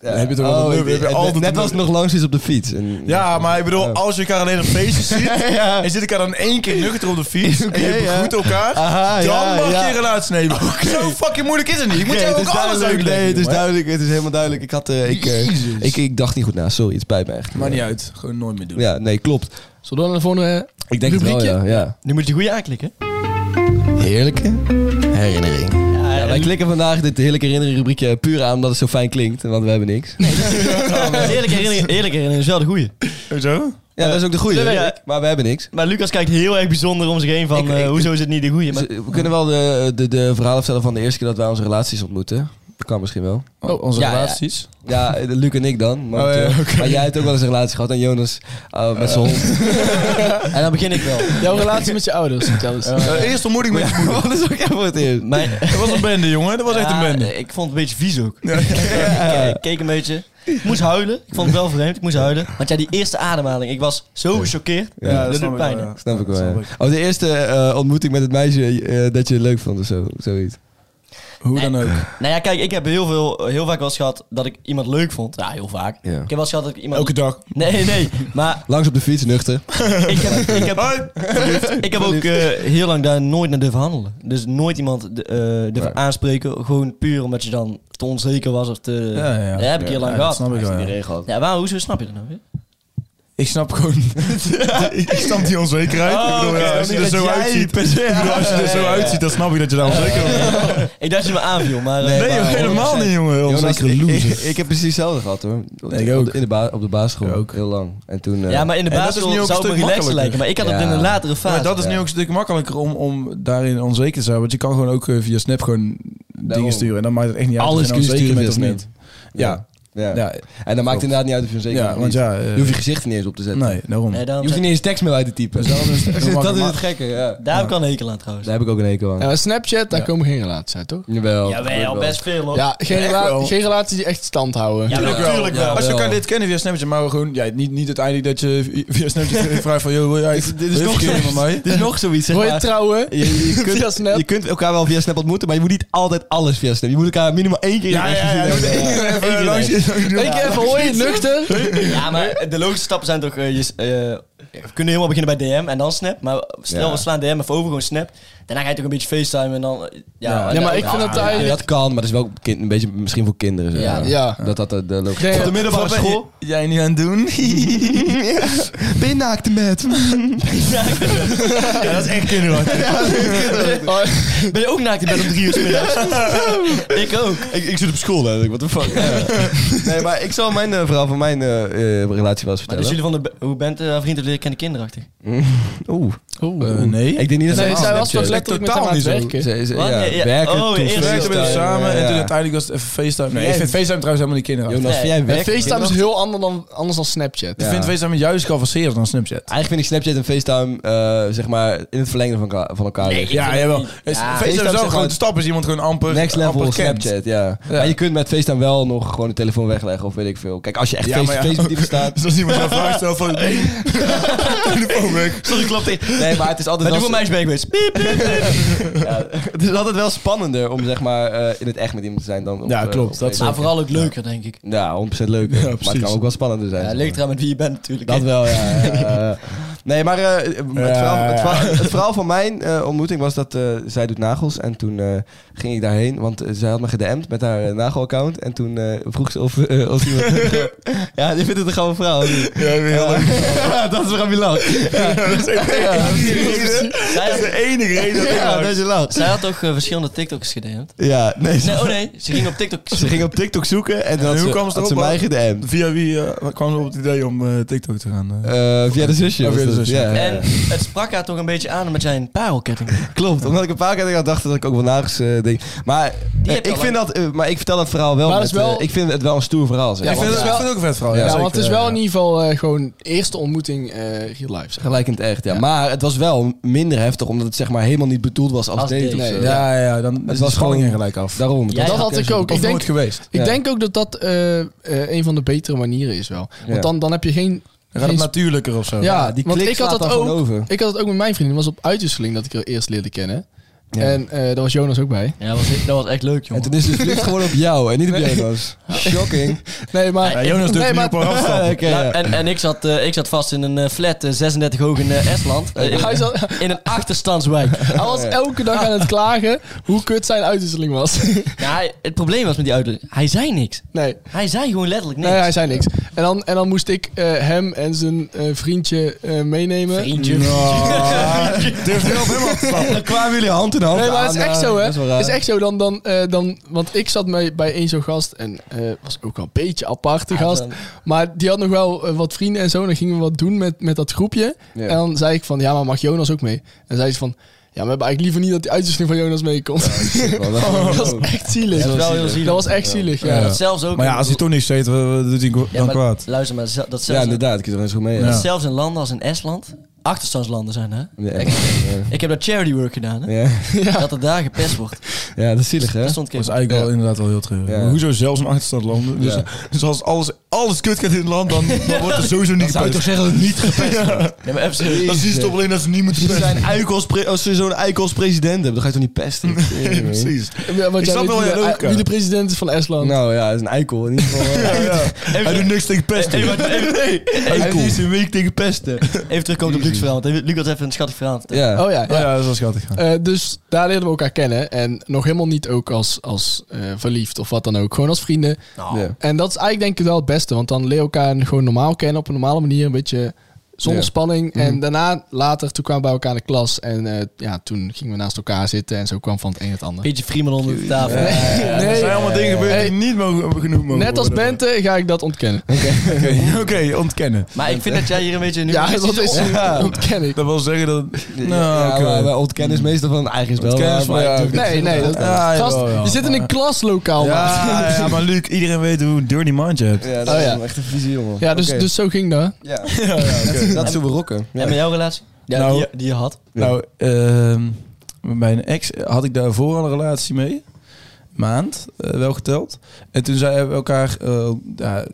dan heb je toch wel een nummer. heb je altijd Net was een Oh, het nummer. nog langs is op de fiets. En, Ja, maar ik bedoel, Oh. als je elkaar alleen op feestjes ziet, en zit elkaar dan één keer nuchter op de fiets, en je Oké, ja. begroet elkaar, Aha, dan ja, mag ja. je een relatie nemen. Zo fucking moeilijk is het niet. Ik moet Oké, jou het ook is alles duidelijk. uitleggen. Nee, het is jongen. duidelijk. Het is helemaal duidelijk. Ik, had, eh, ik, eh, Jezus. ik, ik dacht niet goed na. Sorry, het spijt me echt. Maakt niet uit. Gewoon nooit meer doen. Ja, nee, klopt. Zullen we dan naar de volgende... Ik denk het wel, ja. Rubriekje? ja. Nu moet je de goede aanklikken. Heerlijke herinnering. Ja, Ja, wij klikken vandaag dit heerlijke herinnering rubriekje puur aan omdat het zo fijn klinkt. Want we hebben niks. Eerlijk herinnering, eerlijk herinnering is wel de goede. Hoezo? Ja, dat is ook de goede. dat weet hè? ik. Maar we hebben niks. Maar Lucas kijkt heel erg bijzonder om zich heen van, Ik- ik- eh, hoezo is het niet de goede? Maar, Dus, eh, we kunnen wel de, de, de verhalen vertellen van de eerste keer dat wij onze relaties ontmoeten. Dat kan misschien wel. Oh, onze Ja, ja. relaties? Ja, eh, Luc en ik dan. Want, Oh ja, eh, oké. Maar jij hebt ook wel eens een relatie gehad. En Jonas eh, met zijn hond. en dan begin ik wel. Jouw relatie met je ouders, vertel eens. Eh, eerst ontmoeting met je moeder. dat is ook echt voor het eerst. Mijn, Dat was een bende, jongen. Dat was echt een Ja, bende. Ik vond het een beetje vies ook. Ik, ik keek een beetje. Ik moest huilen. Ik vond het wel vreemd. Ik moest huilen. Want ja, die eerste ademhaling. Ik was zo gechoqueerd. Ja, snap dat doet ik wel, pijn. ja. hè. Snap ik wel. Snap ja. ik. Oh, de eerste eh, ontmoeting met het meisje eh, dat je leuk vond of zo, zoiets. Hoe dan ook. Nou ja, kijk, ik heb heel, veel, heel vaak wel eens gehad dat ik iemand leuk vond. Ja, heel vaak. Ja. Ik heb wel eens gehad dat ik iemand... Elke dag. Nee, nee. Maar Langs op de fiets, nuchter. ik heb, ik heb, Hoi. ik heb ook eh, heel lang daar nooit naar durven handelen. Dus nooit iemand de- eh durven Nee. aanspreken. Gewoon puur omdat je dan te onzeker was of te... Ja, ja, ja. Dat heb ik heel Ja, lang dat gehad. snap ik wel, ja. regel. Ja, waarom, hoezo snap je dat nou weer? Ik snap gewoon... ik ik snap die onzekerheid. Oh, Ik bedoel, ja, oké, als je niet er dat zo jij uitziet... per se- Ik bedoel, als je er zo uitziet, dan snap ik dat je daar onzeker over bent. Ik dacht dat je me aanviel, maar... eh, Nee, maar helemaal 100%. niet, jongen. Jonas, Onzekere ik, ik, loser. ik heb precies hetzelfde gehad hoor. ik Op de- ook. In de ba- op de basisschool. Ik ook. Heel lang. En toen, eh, Ja, maar in de En dat is nu ook basisschool een zou het stuk me relaxed makkelijker. lijken. Maar ik had het Ja. in een latere Ja, maar fase. dat is nu ook een stuk makkelijker om, om daarin onzeker te zijn. Want je kan gewoon ook eh, via Snap gewoon dingen sturen. En dan maakt het echt niet uit Alles of je kun je nou onzeker sturen bent of via niet. Ja, ja. ja, En dan maakt het inderdaad niet uit of je onzeker Ja, bent of want niet. ja, eh, je hoeft je gezicht er niet eens op te zetten. nee, daarom. Nee, Je hoeft daarom er zei- niet eens tekstmail uit te typen. Dus daarom is het- dat is makkelijk. het gekke, ja. Daar heb ik al een hekel aan trouwens. Daar heb ik ook een hekel aan. Ja, maar Snapchat, daar komen geen relaties uit, toch? Jawel. Jawel, best veel hoor. Ja, geen, echt rela- wel. geen relaties die echt stand houden. Ja, Tuurlijk wel. natuurlijk wel. Als je elkaar wel. dit kennen via Snapchat, maar gewoon ja, niet, niet uiteindelijk dat je via Snapchat vraagt van... Yo, wil jij, Dit is nog helemaal zoiets. mij? Dit is nog zoiets, zeg Wil je maar. trouwen? Je, je kunt, Via Snap. je kunt elkaar wel via Snap ontmoeten, maar je moet niet altijd alles via Snap. Je moet elkaar minimaal één keer Ja, in het ja, echt ja. gezien je moet hebben. even Eén keer in langs het echt. je- Eén keer even hoor je nuchter. Ja, maar de logische stappen zijn toch... eh, je, s- eh, we kunnen helemaal beginnen bij DM en dan Snap. Maar snel, Ja. we slaan DM even over, gewoon Snap. Daarna ga je toch een beetje FaceTime en dan... eh, Ja, Ja, maar ik vind dat Ja, daar... dat kan, maar dat is wel kind, een beetje misschien voor kinderen. Zeg Ja. maar. Ja. Dat dat de, de logica- Nee, Op de middelbare Wat ben school. je- Jij nu aan het doen? Ben je naakt met? Ja, dat is echt kinderachtig. Oh, Ben je ook naakt in bed om drie uur 's middags? ik ook. ik, ik zit op school eigenlijk, what the fuck. nee, maar ik zal mijn eh, verhaal van mijn eh, eh, relatie wel eens Maar dus vertellen. jullie van de... be- Hoe bent eh vriend of leren kennen kinderachtig? Oeh. Eh, nee. Ik denk niet dat Nee, ze zij was toch Snapchat- letterlijk met hem totaal aan het niet zo. werken. Ze- ze- Wat? ja, Ja, ja. werken Oh, toen eerst ze- We werkten met hem FaceTime, samen ja. en toen uiteindelijk was het even FaceTime. Nee, Jij- ik vind FaceTime trouwens helemaal niet kinderachtig. Jonas, vind jij en werk? FaceTime is heel ander dan, anders dan Snapchat. Ja. Ik vind FaceTime juist geavanceerder dan Snapchat. Eigenlijk vind ik Snapchat en FaceTime eh, zeg maar in het verlengde van, elkaar- van elkaar. liggen. Ja, jawel. Is- FaceTime FaceTime is is wel een gewoon- grote stap. Is iemand gewoon amper Next level amper kent. Snapchat, ja. Maar je kunt met FaceTime wel nog gewoon de telefoon wegleggen of weet ik veel. Kijk, als je echt Ja, maar ja. face-to-face met iemand staat... Dus als iemand jou vraagt stelt van... Hey, telefoon weg. Sorry, klopt ik. Nee, maar het is altijd Ben je wel... voor mij ben ik geweest? Piep, piep. Ja, het is altijd wel spannender om zeg maar eh, in het echt met iemand te zijn dan... op, Ja, eh, klopt. op Dat Facebook. Maar vooral ook leuker, denk ik. Ja, 100% leuk. Ja, maar het precies. kan ook wel spannender zijn. Ja, zeg ligt eraan met wie je bent natuurlijk. Dat wel, ja. ja, ja. Nee, maar eh, het, verhaal, het, verhaal, het verhaal van mijn eh, ontmoeting was dat eh, zij doet nagels. En toen eh, ging ik daarheen, want eh, zij had me gedM'd met haar eh, nagelaccount. En toen eh, vroeg ze of, eh, of iemand... ja, je vindt het een gouden verhaal. of niet? Ja, heel leuk. Ja, dat is waarom je lacht. Dat is echt de enige reden- Zij dat is had, de enige reden dat ik Ja, maak. dat is je lacht. zij had toch eh, verschillende TikToks gedm'd? Ja, nee. Ze, Nee, oh nee. Ze ging op TikTok. ze ging op TikTok zoeken en, dan En had hoe ze, kwam ze had ze mij erop? gedM'd. Via wie eh, kwam ze op het idee om eh, TikTok te gaan? eh? Eh, via de zusje. Oh, via de was dat, zusje. ja. En het sprak haar toch een beetje aan met zijn parelketting. Klopt, omdat ik een paar keer had dacht dat ik ook wel nagels eh ding. Maar, eh, heb je ik al vind dat, eh, maar ik vertel dat verhaal wel. Maar dat met, is wel- eh, ik vind het wel een stoer verhaal. Zeg. Ja, ik, vind want- het, ik vind het ook een vet verhaal. Ja, Ja, zeker, Nou, want het is ja, wel ja. in ieder geval eh, gewoon eerste ontmoeting eh real life. Zeg. maar. Gelijk in het echt, ja. Maar het was wel minder heftig, omdat het zeg maar helemaal niet bedoeld was als, Als date. date. of zo. Nee, Ja, ja, ja, dan is was de spanning gewoon- er gelijk af. Daarom. Jij- Dat Ja, had ik ook. Of nooit Ik denk, geweest. ik Ja. denk ook dat dat eh, eh, een van de betere manieren is wel. Want Ja. dan, dan heb je geen... Dan gaat het geen- natuurlijker of zo. ja, Ja, die want klik ik had slaat dat dan gewoon ook. over. Ik had het ook met mijn vriendin. Het was op uitwisseling dat ik haar eerst leerde kennen. Ja. En eh, daar was Jonas ook bij. Ja, was, dat was echt leuk, En jongen. toen is ze verliefd geworden op jou en niet op Jonas. Shocking. Nee, maar... Ja, Jonas doet nee, nu maar- op een afstand. Oké, Nou, ja. en, en ik zat, eh, ik zat vast in een eh, flat eh, 36 hoog in eh, Estland. Eh, in- Hij, zat, in een achterstandswijk. hij was elke dag aan het klagen hoe kut zijn uitwisseling was. Ja, hij- het probleem was met die auto. Hij zei niks. nee, Hij zei gewoon letterlijk niks. nee, hij zei niks. En dan, en dan moest ik eh, hem en zijn eh, vriendje eh, meenemen. Vriendje. Durf je op helemaal te stappen. Dan kwamen jullie hand in hand Nee, maar het is aan, echt eh, zo, hè? dat is wel raar. Het is echt zo. Dan, dan, eh, dan, want ik zat mee bij één zo'n gast en eh, was ook wel een beetje aparte gast. dan- Maar die had nog wel eh, wat vrienden en zo. En dan gingen we wat doen met, met dat groepje. Ja. En dan zei ik van, ja, maar mag Jonas ook mee? En zei ze van, ja, we hebben eigenlijk liever niet dat die uitzending van Jonas meekomt. Wel, dat- dat was echt zielig. Dat is wel heel zielig. Dat was echt zielig, ja. Ja. Dat zelfs ook. Maar ja, als hij toch niks zegt, wat- wat doet hij dan Ja, maar kwaad? Luister maar, ze- dat Ja, zelfs, inderdaad. Ik heb er eens goed mee. dat Ja. zelfs in landen als in Estland achterstandslanden zijn, hè? Ja. Ik heb dat charity work gedaan, hè? Ja. Dat er daar gepest wordt. Ja, dat is zielig, hè? Dat stond ik Dat is even. eigenlijk wel inderdaad wel heel treurig. Ja. Maar hoezo zelfs een achterstand landen? Dus, Ja. dus als alles, alles kut gaat in het land, dan, dan wordt er sowieso niet zou je toch gepest. zeggen dat het niet gepest Nee, maar even serieus. Dan zien ze toch alleen dat ze niet moeten Als je pesten. zo'n eikel als pre- als je zo'n eikel als president hebt, dan ga je toch niet pesten? Nee, precies. Ja, want Ik jij snap weet wel wie, heel de, leuk, wie de president is van Estland. Nou ja, dat is een eikel in ieder geval. Ja, ja. Hij doet niks tegen pesten. Even, even, Hij doet niks een week tegen pesten. even terugkomen op Luc schattig verhaal. want Luc had even een schattig verhaal. te Ja. Oh ja, ja. Ja, dat is wel schattig. Eh, dus daar leerden we elkaar kennen. En nog helemaal niet ook als, als eh, verliefd of wat dan ook. Gewoon als vrienden. Oh, Ja. En dat is eigenlijk denk ik wel het beste. Want dan leer je elkaar gewoon normaal kennen. Op een normale manier. Een beetje zonder Ja. spanning. En daarna, later, toen kwamen we bij elkaar in de klas. En eh, ja, toen gingen we naast elkaar zitten. En zo kwam van het een het ander. Beetje Freeman onder de tafel. Eh, Er Nee, zijn allemaal dingen gebeurd die niet mogen, genoemd mogen net als worden. Bente ga ik dat ontkennen. Oké, ontkennen. Maar ik vind dat jij hier een beetje nu... Ja, dat is Ja. ontken ik. Dat wil zeggen dat... ja, oké. maar wij ontkennen is meestal van eigen spel. Ontkennen is maar- van- ja, oké. Nee, nee. Dat, Ah, Ja, jawel, gast, jawel. je zit in een klaslokaal, maat. Ja, ja, maar Luc, iedereen weet hoe een dirty mind je hebt. Ja, dat Oh, is ja. wel echt een visie, jongen. Ja, dus, Oké. dus zo ging dat. Ja. Dat- Dat is hoe we rocken. Ja. En met jouw relatie? Ja, Nou- die, die je had. Nou, ehm, met mijn ex had ik daarvoor al een relatie mee. Maand, eh, wel geteld. En toen zij hebben we elkaar eh, ja,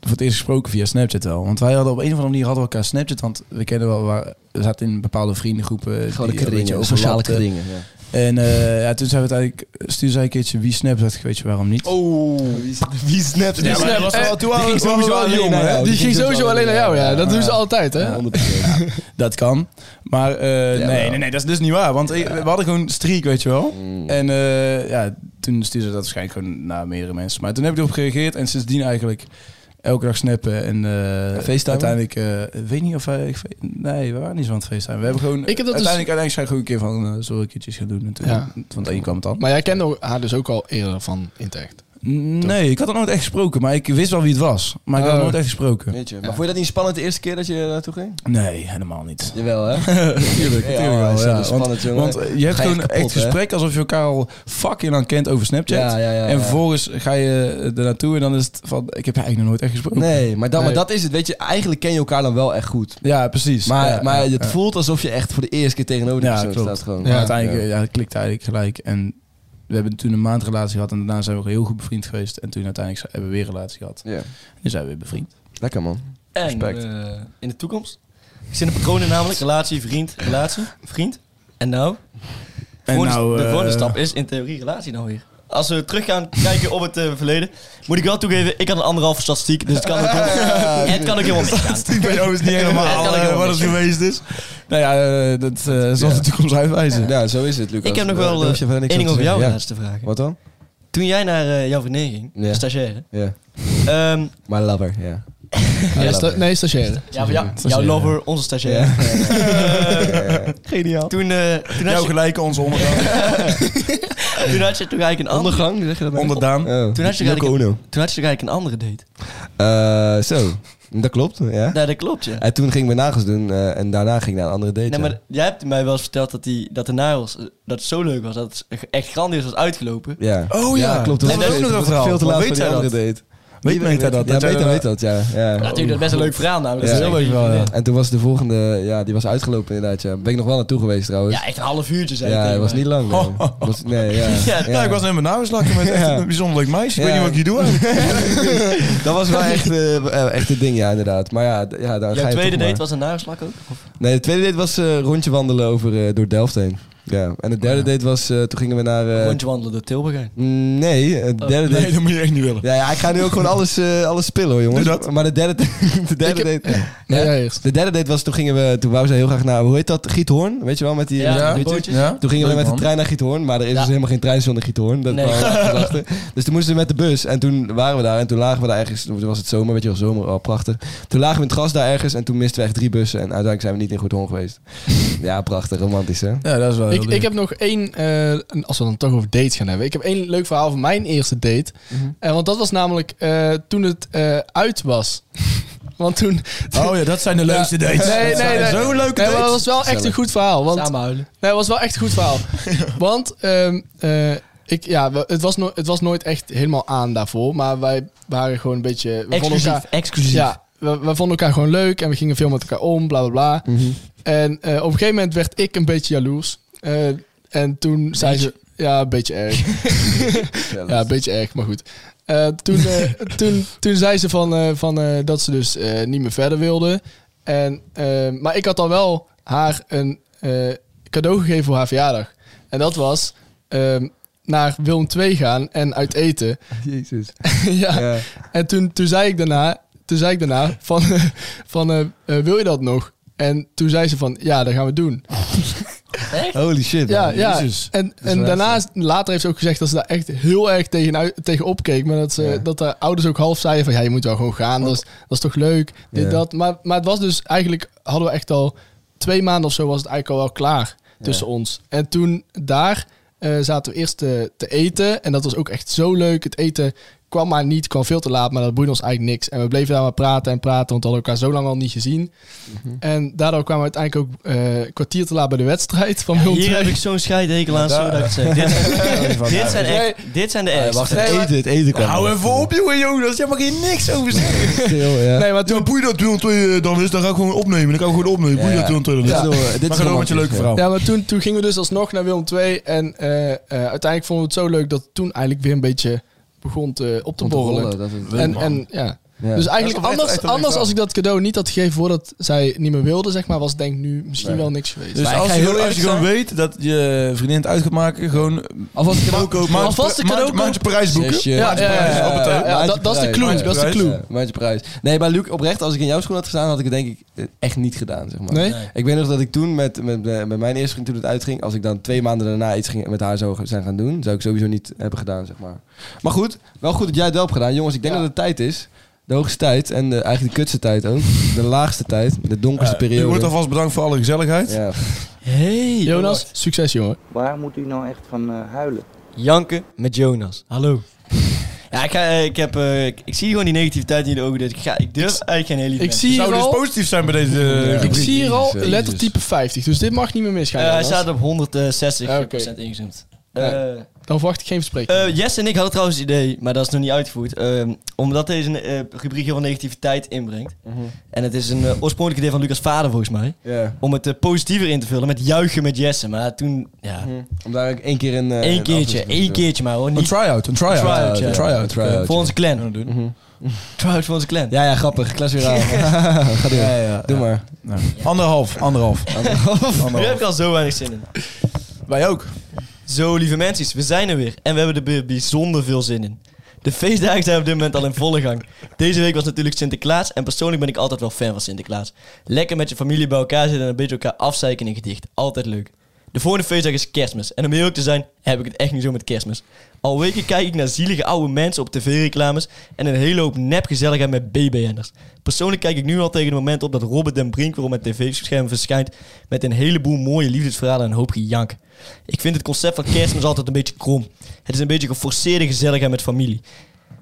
voor het eerst gesproken via Snapchat wel. Want wij hadden op een of andere manier hadden we elkaar Snapchat. Want we kennen wel, we waren- we zaten in bepaalde vriendengroepen. Gewoon de die een beetje kringen, sociale overlapten. kringen. En eh, ja, toen zijn we het eigenlijk, stuurde zij een keertje wie Snap. Dat weet je waarom niet. Oh, wie, wie snapt Ja, maar dat was wel- toen waren ging we- waren we sowieso wel alleen jong, naar hè? jou. Die ging sowieso alleen naar jou, ja. Dat doen ze altijd, hè? Ja, 100%. Dat kan. Maar eh, nee, nee, nee, dat is dus niet waar. Want ik- we hadden gewoon streak, weet je wel. Mm. En eh, ja, toen stuurde ze dat waarschijnlijk gewoon naar meerdere mensen. Maar toen heb ik erop gereageerd en sindsdien eigenlijk elke dag snappen. En eh facetimen? uiteindelijk, eh, ik weet niet of wij... ik weet- nee, we waren niet zo aan het facetimen. We hebben gewoon... Ik heb dat dus- uiteindelijk, uiteindelijk zijn we gewoon een keer van, eh zullen we keertjes gaan doen? En toen, Ja. Want de een kwam het aan. Maar jij kende haar dus ook al eerder van in het echt. Nee, ik had het nooit echt gesproken. Maar ik wist wel wie het was. Maar ik had het Oh. nooit echt gesproken. Weet je, maar vond je dat niet spannend de eerste keer dat je eh, naartoe ging? Nee, helemaal niet. Jawel, hè? Tuurlijk, Ja, tuurlijk is wel. dat Ja. dus spannend, want, jongen. want eh, je hebt Ga je gewoon echt echt, kapot, hè? gesprek alsof je elkaar al fucking lang kent over Snapchat. Ja, ja, ja, en ja. vervolgens ga je eh, er naartoe en dan is het van, ik heb je eigenlijk nog nooit echt gesproken. Nee, maar, dan, Nee. maar dat is het. Weet je, eigenlijk ken je elkaar dan wel echt goed. Ja, precies. Maar, ja, maar ja, het ja. voelt alsof je echt voor de eerste keer tegenover die Ja, persoon klopt. staat. Gewoon. Maar uiteindelijk eh, ja, het klikt eigenlijk gelijk. En we hebben toen een maand relatie gehad en daarna zijn we heel goed bevriend geweest. En toen uiteindelijk z- hebben we weer een relatie gehad. Ja. Nu zijn we weer bevriend. Lekker, man. En Respect. eh, in de toekomst? Ik zit in patronen namelijk. Relatie, vriend, relatie, vriend. En nou? En Volgende- nou, de eh, volgende stap is in theorie relatie nou weer. Als we terug gaan kijken op het eh, verleden, moet ik wel toegeven, ik had een anderhalve statistiek, dus het kan ook, het kan ook helemaal misgaan. Ik weet overigens niet Het helemaal kan ook eh, wat helemaal het geweest is. Nou ja, eh, dat eh, zal de toekomst uitwijzen. Ja, zo is het, Lucas. Ik heb nog Daar wel eh, hoef je verder één niks ding aan over te jou zeggen. laatste vraag. Ja. Wat dan? Toen jij naar eh, jouw vriendin ging, Ja. stagiaire, Ja. ehm, My lover, ja. Ja, sta- nee, stagiaire. ja, van jou- jouw Stagiaire. lover, onze stagiaire. Geniaal. Toen, eh, toen, had Jouw je, gelijk onze ondergang. toen had je toch eigenlijk een andere... Ondergang, zeg je dat? nou? Onderdaan. Oh. Toen had je Yoko eigenlijk- Ono. Toen had je toch eigenlijk een andere date. Eh, Zo, dat klopt, ja. Ja, dat klopt, ja. En toen ging ik mijn nagels doen eh, en daarna ging ik naar een andere date. Nee, ja. maar jij hebt mij wel eens verteld dat, die, dat de nagels eh, dat het zo leuk was, dat het echt grandioos was uitgelopen. Ja. Oh ja. klopt. Nee, dat is ook nog een was verhaal. Veel te Maar laat weet voor die zij andere dat? date. Weet Meta dat? Ja, Dat weet zij weet dat, ja. ja. Natuurlijk, dat is best een leuk verhaal namelijk. Ja. Dat is Dat echt weet ik wel, lief, ja. hè. En toen was de volgende, ja, die was uitgelopen inderdaad. Ja. Ben ik nog wel naartoe geweest trouwens. Ja, echt een half uurtje zei Ja, hij het tegen was mij. niet lang. Nee, Was, nee ja. Ja, nou, Ja, ik was net mijn nagels lakken met echt Ja. een bijzonder leuk meisje. Ik weet Ja. niet wat ik hier doe. eigenlijk. Dat was wel echt, eh, eh, echt het ding, ja, inderdaad. Maar ja, d- ja daar ga Jouw je tweede toch date maar. was een nagelslak ook? Of? Nee, de tweede date was eh, rondje wandelen over, eh, door Delft heen. Ja. En de derde date was, eh, toen gingen we naar... eh, Oh, Rondje Oh. wandelen door Tilburg heen. mm, nee, eh, de derde date... Nee, dat moet je echt niet willen. Ja, ja, ik ga nu ook gewoon alles, eh, alles spillen hoor, jongens. Doe dat. Maar de derde, de derde Ik heb- date... Nee, Ja? jij eerst. De derde date was, toen gingen we, toen wou ze heel graag naar, hoe heet dat, Giethoorn? Weet je wel, met die... Ja, met die die bootjes? bootjes. Toen gingen we Leuk, met de man. trein naar Giethoorn, maar er is Ja. dus helemaal geen trein zonder Giethoorn. Dat Nee. waren we later achter. Dus toen moesten we met de bus en toen waren we daar en toen lagen we daar ergens, toen was het zomer, weet je wel, zomer, al prachtig. Toen lagen we in het gras daar ergens en toen misten we echt drie bussen en uiteindelijk zijn we niet in Goedhoorn geweest. Ja, prachtig, romantisch hè? Ja, dat is wel Ik, heel ik heb nog één, eh, een- als we dan toch over dates gaan hebben. Ik heb één leuk verhaal van mijn eerste date. Mhm. Eh, want dat was namelijk eh, toen het eh, uit was. want toen... Oh ja, dat zijn de leukste dates. Nee, Dat zijn nee, nee. Zo leuke Nee, maar dat dates. was wel echt een goed verhaal. Want Samen huilen. Nee, het was wel echt een goed verhaal. Want ehm, eh, ik, ja, we- het, was no- het was nooit echt helemaal aan daarvoor. Maar wij waren gewoon een beetje... We vonden Exclusief, elkaar- exclusief. Ja, we, we vonden elkaar gewoon leuk en we gingen veel met elkaar om, bla bla bla. En eh, op een gegeven moment werd ik een beetje jaloers. Eh, en toen zei ze... Ja, een beetje erg. Ja, een beetje erg, maar goed. Eh, toen, eh, toen, toen zei ze van, eh, van, eh, dat ze dus eh, niet meer verder wilde. En, eh, maar ik had dan wel haar een eh, cadeau gegeven voor haar verjaardag. En dat was ehm, naar Willem 2 gaan en uit eten. Jezus. ja. Ja. En toen, toen zei ik daarna, toen zei ik daarna van, eh, van eh, eh, wil je dat nog? En toen zei ze van, ja, dat gaan we doen. Holy shit. Ja, man. ja. Jezus. En, is en wel daarna, later heeft ze ook gezegd dat ze daar echt heel erg tegen, tegen opkeek. Maar dat, ze, dat haar ouders ook half zeiden van, ja, je moet wel gewoon gaan. Dat is, dat is toch leuk, dit, Ja. dat. Maar, maar het was dus, eigenlijk hadden we echt al twee maanden of zo was het eigenlijk al wel klaar tussen ons. En toen daar eh, zaten we eerst te, te eten. En dat was ook echt zo leuk. Het eten kwam maar niet, kwam veel te laat. Maar dat boeide ons eigenlijk niks. En we bleven daar maar praten en praten, want we hadden elkaar zo lang al niet gezien. Mhm. En daardoor kwamen we uiteindelijk ook eh, een kwartier te laat bij de wedstrijd van Willem Hier II. heb ik zo'n scheidhekel aan, zo dat ik het zeg. Dit- Dit zijn echt, dit zijn de ergste. Wacht, het eten, het eten kwam. Hou even op, jongen, Jonas. Jij mag hier niks over zeggen. Stil, ja. Nee, maar toen, Ja, boei dat 202 dan is, dan ga ik gewoon opnemen. Dan kan ik gewoon opnemen. Boei Ja, dat ja. 202 dan is. Ja. Dit is wel- dit is maar ga door met je romantisch, leuke ja. verhaal. ja, maar toen, toen gingen we dus alsnog naar Willem II. En eh, eh, uiteindelijk vonden we het zo leuk dat het toen eigenlijk weer een beetje begon te, op te borrelen. Dat is- En, en, ja. Ja. Dus eigenlijk echt- anders, echt een leuk anders verhaal. als ik dat cadeau niet had gegeven voordat zij niet meer wilde, zeg maar, was het denk ik nu misschien Nee. wel niks geweest. Dus Maar ik als ga je, heel gewoon- als eerlijk je gewoon weet dat je vriendin het uit gaat maken, gewoon... Alvast een cadeau kopen. Alvast een cadeau Maandje Parijs boeken. Zesje. ja, ja, ja, ja, ja, Maandje ja, ja, prijs. dat- dat is de clue, Maandje dat is de prijs. clue. Ja, Maandje prijs. Nee, maar Luc, oprecht, als ik in jouw schoen had gestaan, had ik het denk ik eh, echt niet gedaan, zeg maar. nee? Ik weet nog dat ik toen met, met, eh, met mijn eerste vriend toen het uitging, als ik dan twee maanden daarna iets ging, met haar zou zijn gaan doen, zou ik sowieso niet hebben gedaan, zeg maar. Maar goed, wel goed dat jij het wel hebt gedaan. Jongens, ik denk Ja. dat het tijd is. De hoogste tijd en de, eigenlijk de kutste tijd ook. De laagste tijd, de donkerste Je wordt periode. alvast bedankt voor alle gezelligheid. Ja, Hey, Jonas, succes jongen. Waar moet u nou echt van eh, huilen? Janken met Jonas. Hallo. Ja, ik, ga, eh, ik, heb, eh, ik, ik zie gewoon die negativiteit in de ogen. Dus ik, ga, ik durf eigenlijk geen hele Ik event. zie hier Zou dus al, positief zijn bij deze... eh, Ja. ik rubriek? zie hier al Jezus. lettertype 50, dus dit mag niet meer misgaan. Eh, hij Jonas. staat op 160% Ja, oké. ingezoomd. Nee. Eh, Dan verwacht ik geen verspreking. eh, Jess en ik hadden trouwens het idee, maar dat is nog niet uitgevoerd. ehm, omdat deze eh, rubriek heel veel negativiteit inbrengt. En het is een eh, oorspronkelijk idee van Lucas' vader volgens mij. ja. Om het eh, positiever in te vullen met juichen met Jesse. Maar toen, ja, Om daar ook één keer een... eh, één een keertje, aflevering één te doen. keertje maar hoor. Een Niet try-out, een try-out. Een try-out, ja. Een try-out. Een try-out. Oké. Mhm. voor onze clan. Kunnen we doen. Trouwens, voor onze clan. Ja, ja, grappig. Klas weer aan. Ga door. Ja, ja, Doe maar. Nou, Anderhalf, anderhalf. Daar heb ik al zo weinig zin in. Wij ook. Zo, lieve mensen, we zijn er weer. En we hebben er bij- bijzonder veel zin in. De feestdagen zijn op dit moment al in volle gang. Deze week was natuurlijk Sinterklaas. En persoonlijk ben ik altijd wel fan van Sinterklaas. Lekker met je familie bij elkaar zitten en een beetje elkaar afzeiken in gedicht. Altijd leuk. De volgende feestdag is kerstmis. En om eerlijk te zijn, heb ik het echt niet zo met kerstmis. Al weken kijk ik naar zielige oude mensen op tv-reclames en een hele hoop nepgezelligheid met BBN'ers. Persoonlijk kijk ik nu al tegen het moment op dat Robert den Brink weer op mijn tv-scherm verschijnt met een heleboel mooie liefdesverhalen en een hoop gejank. Ik vind het concept van kerstmis altijd een beetje krom. Het is een beetje geforceerde gezelligheid met familie.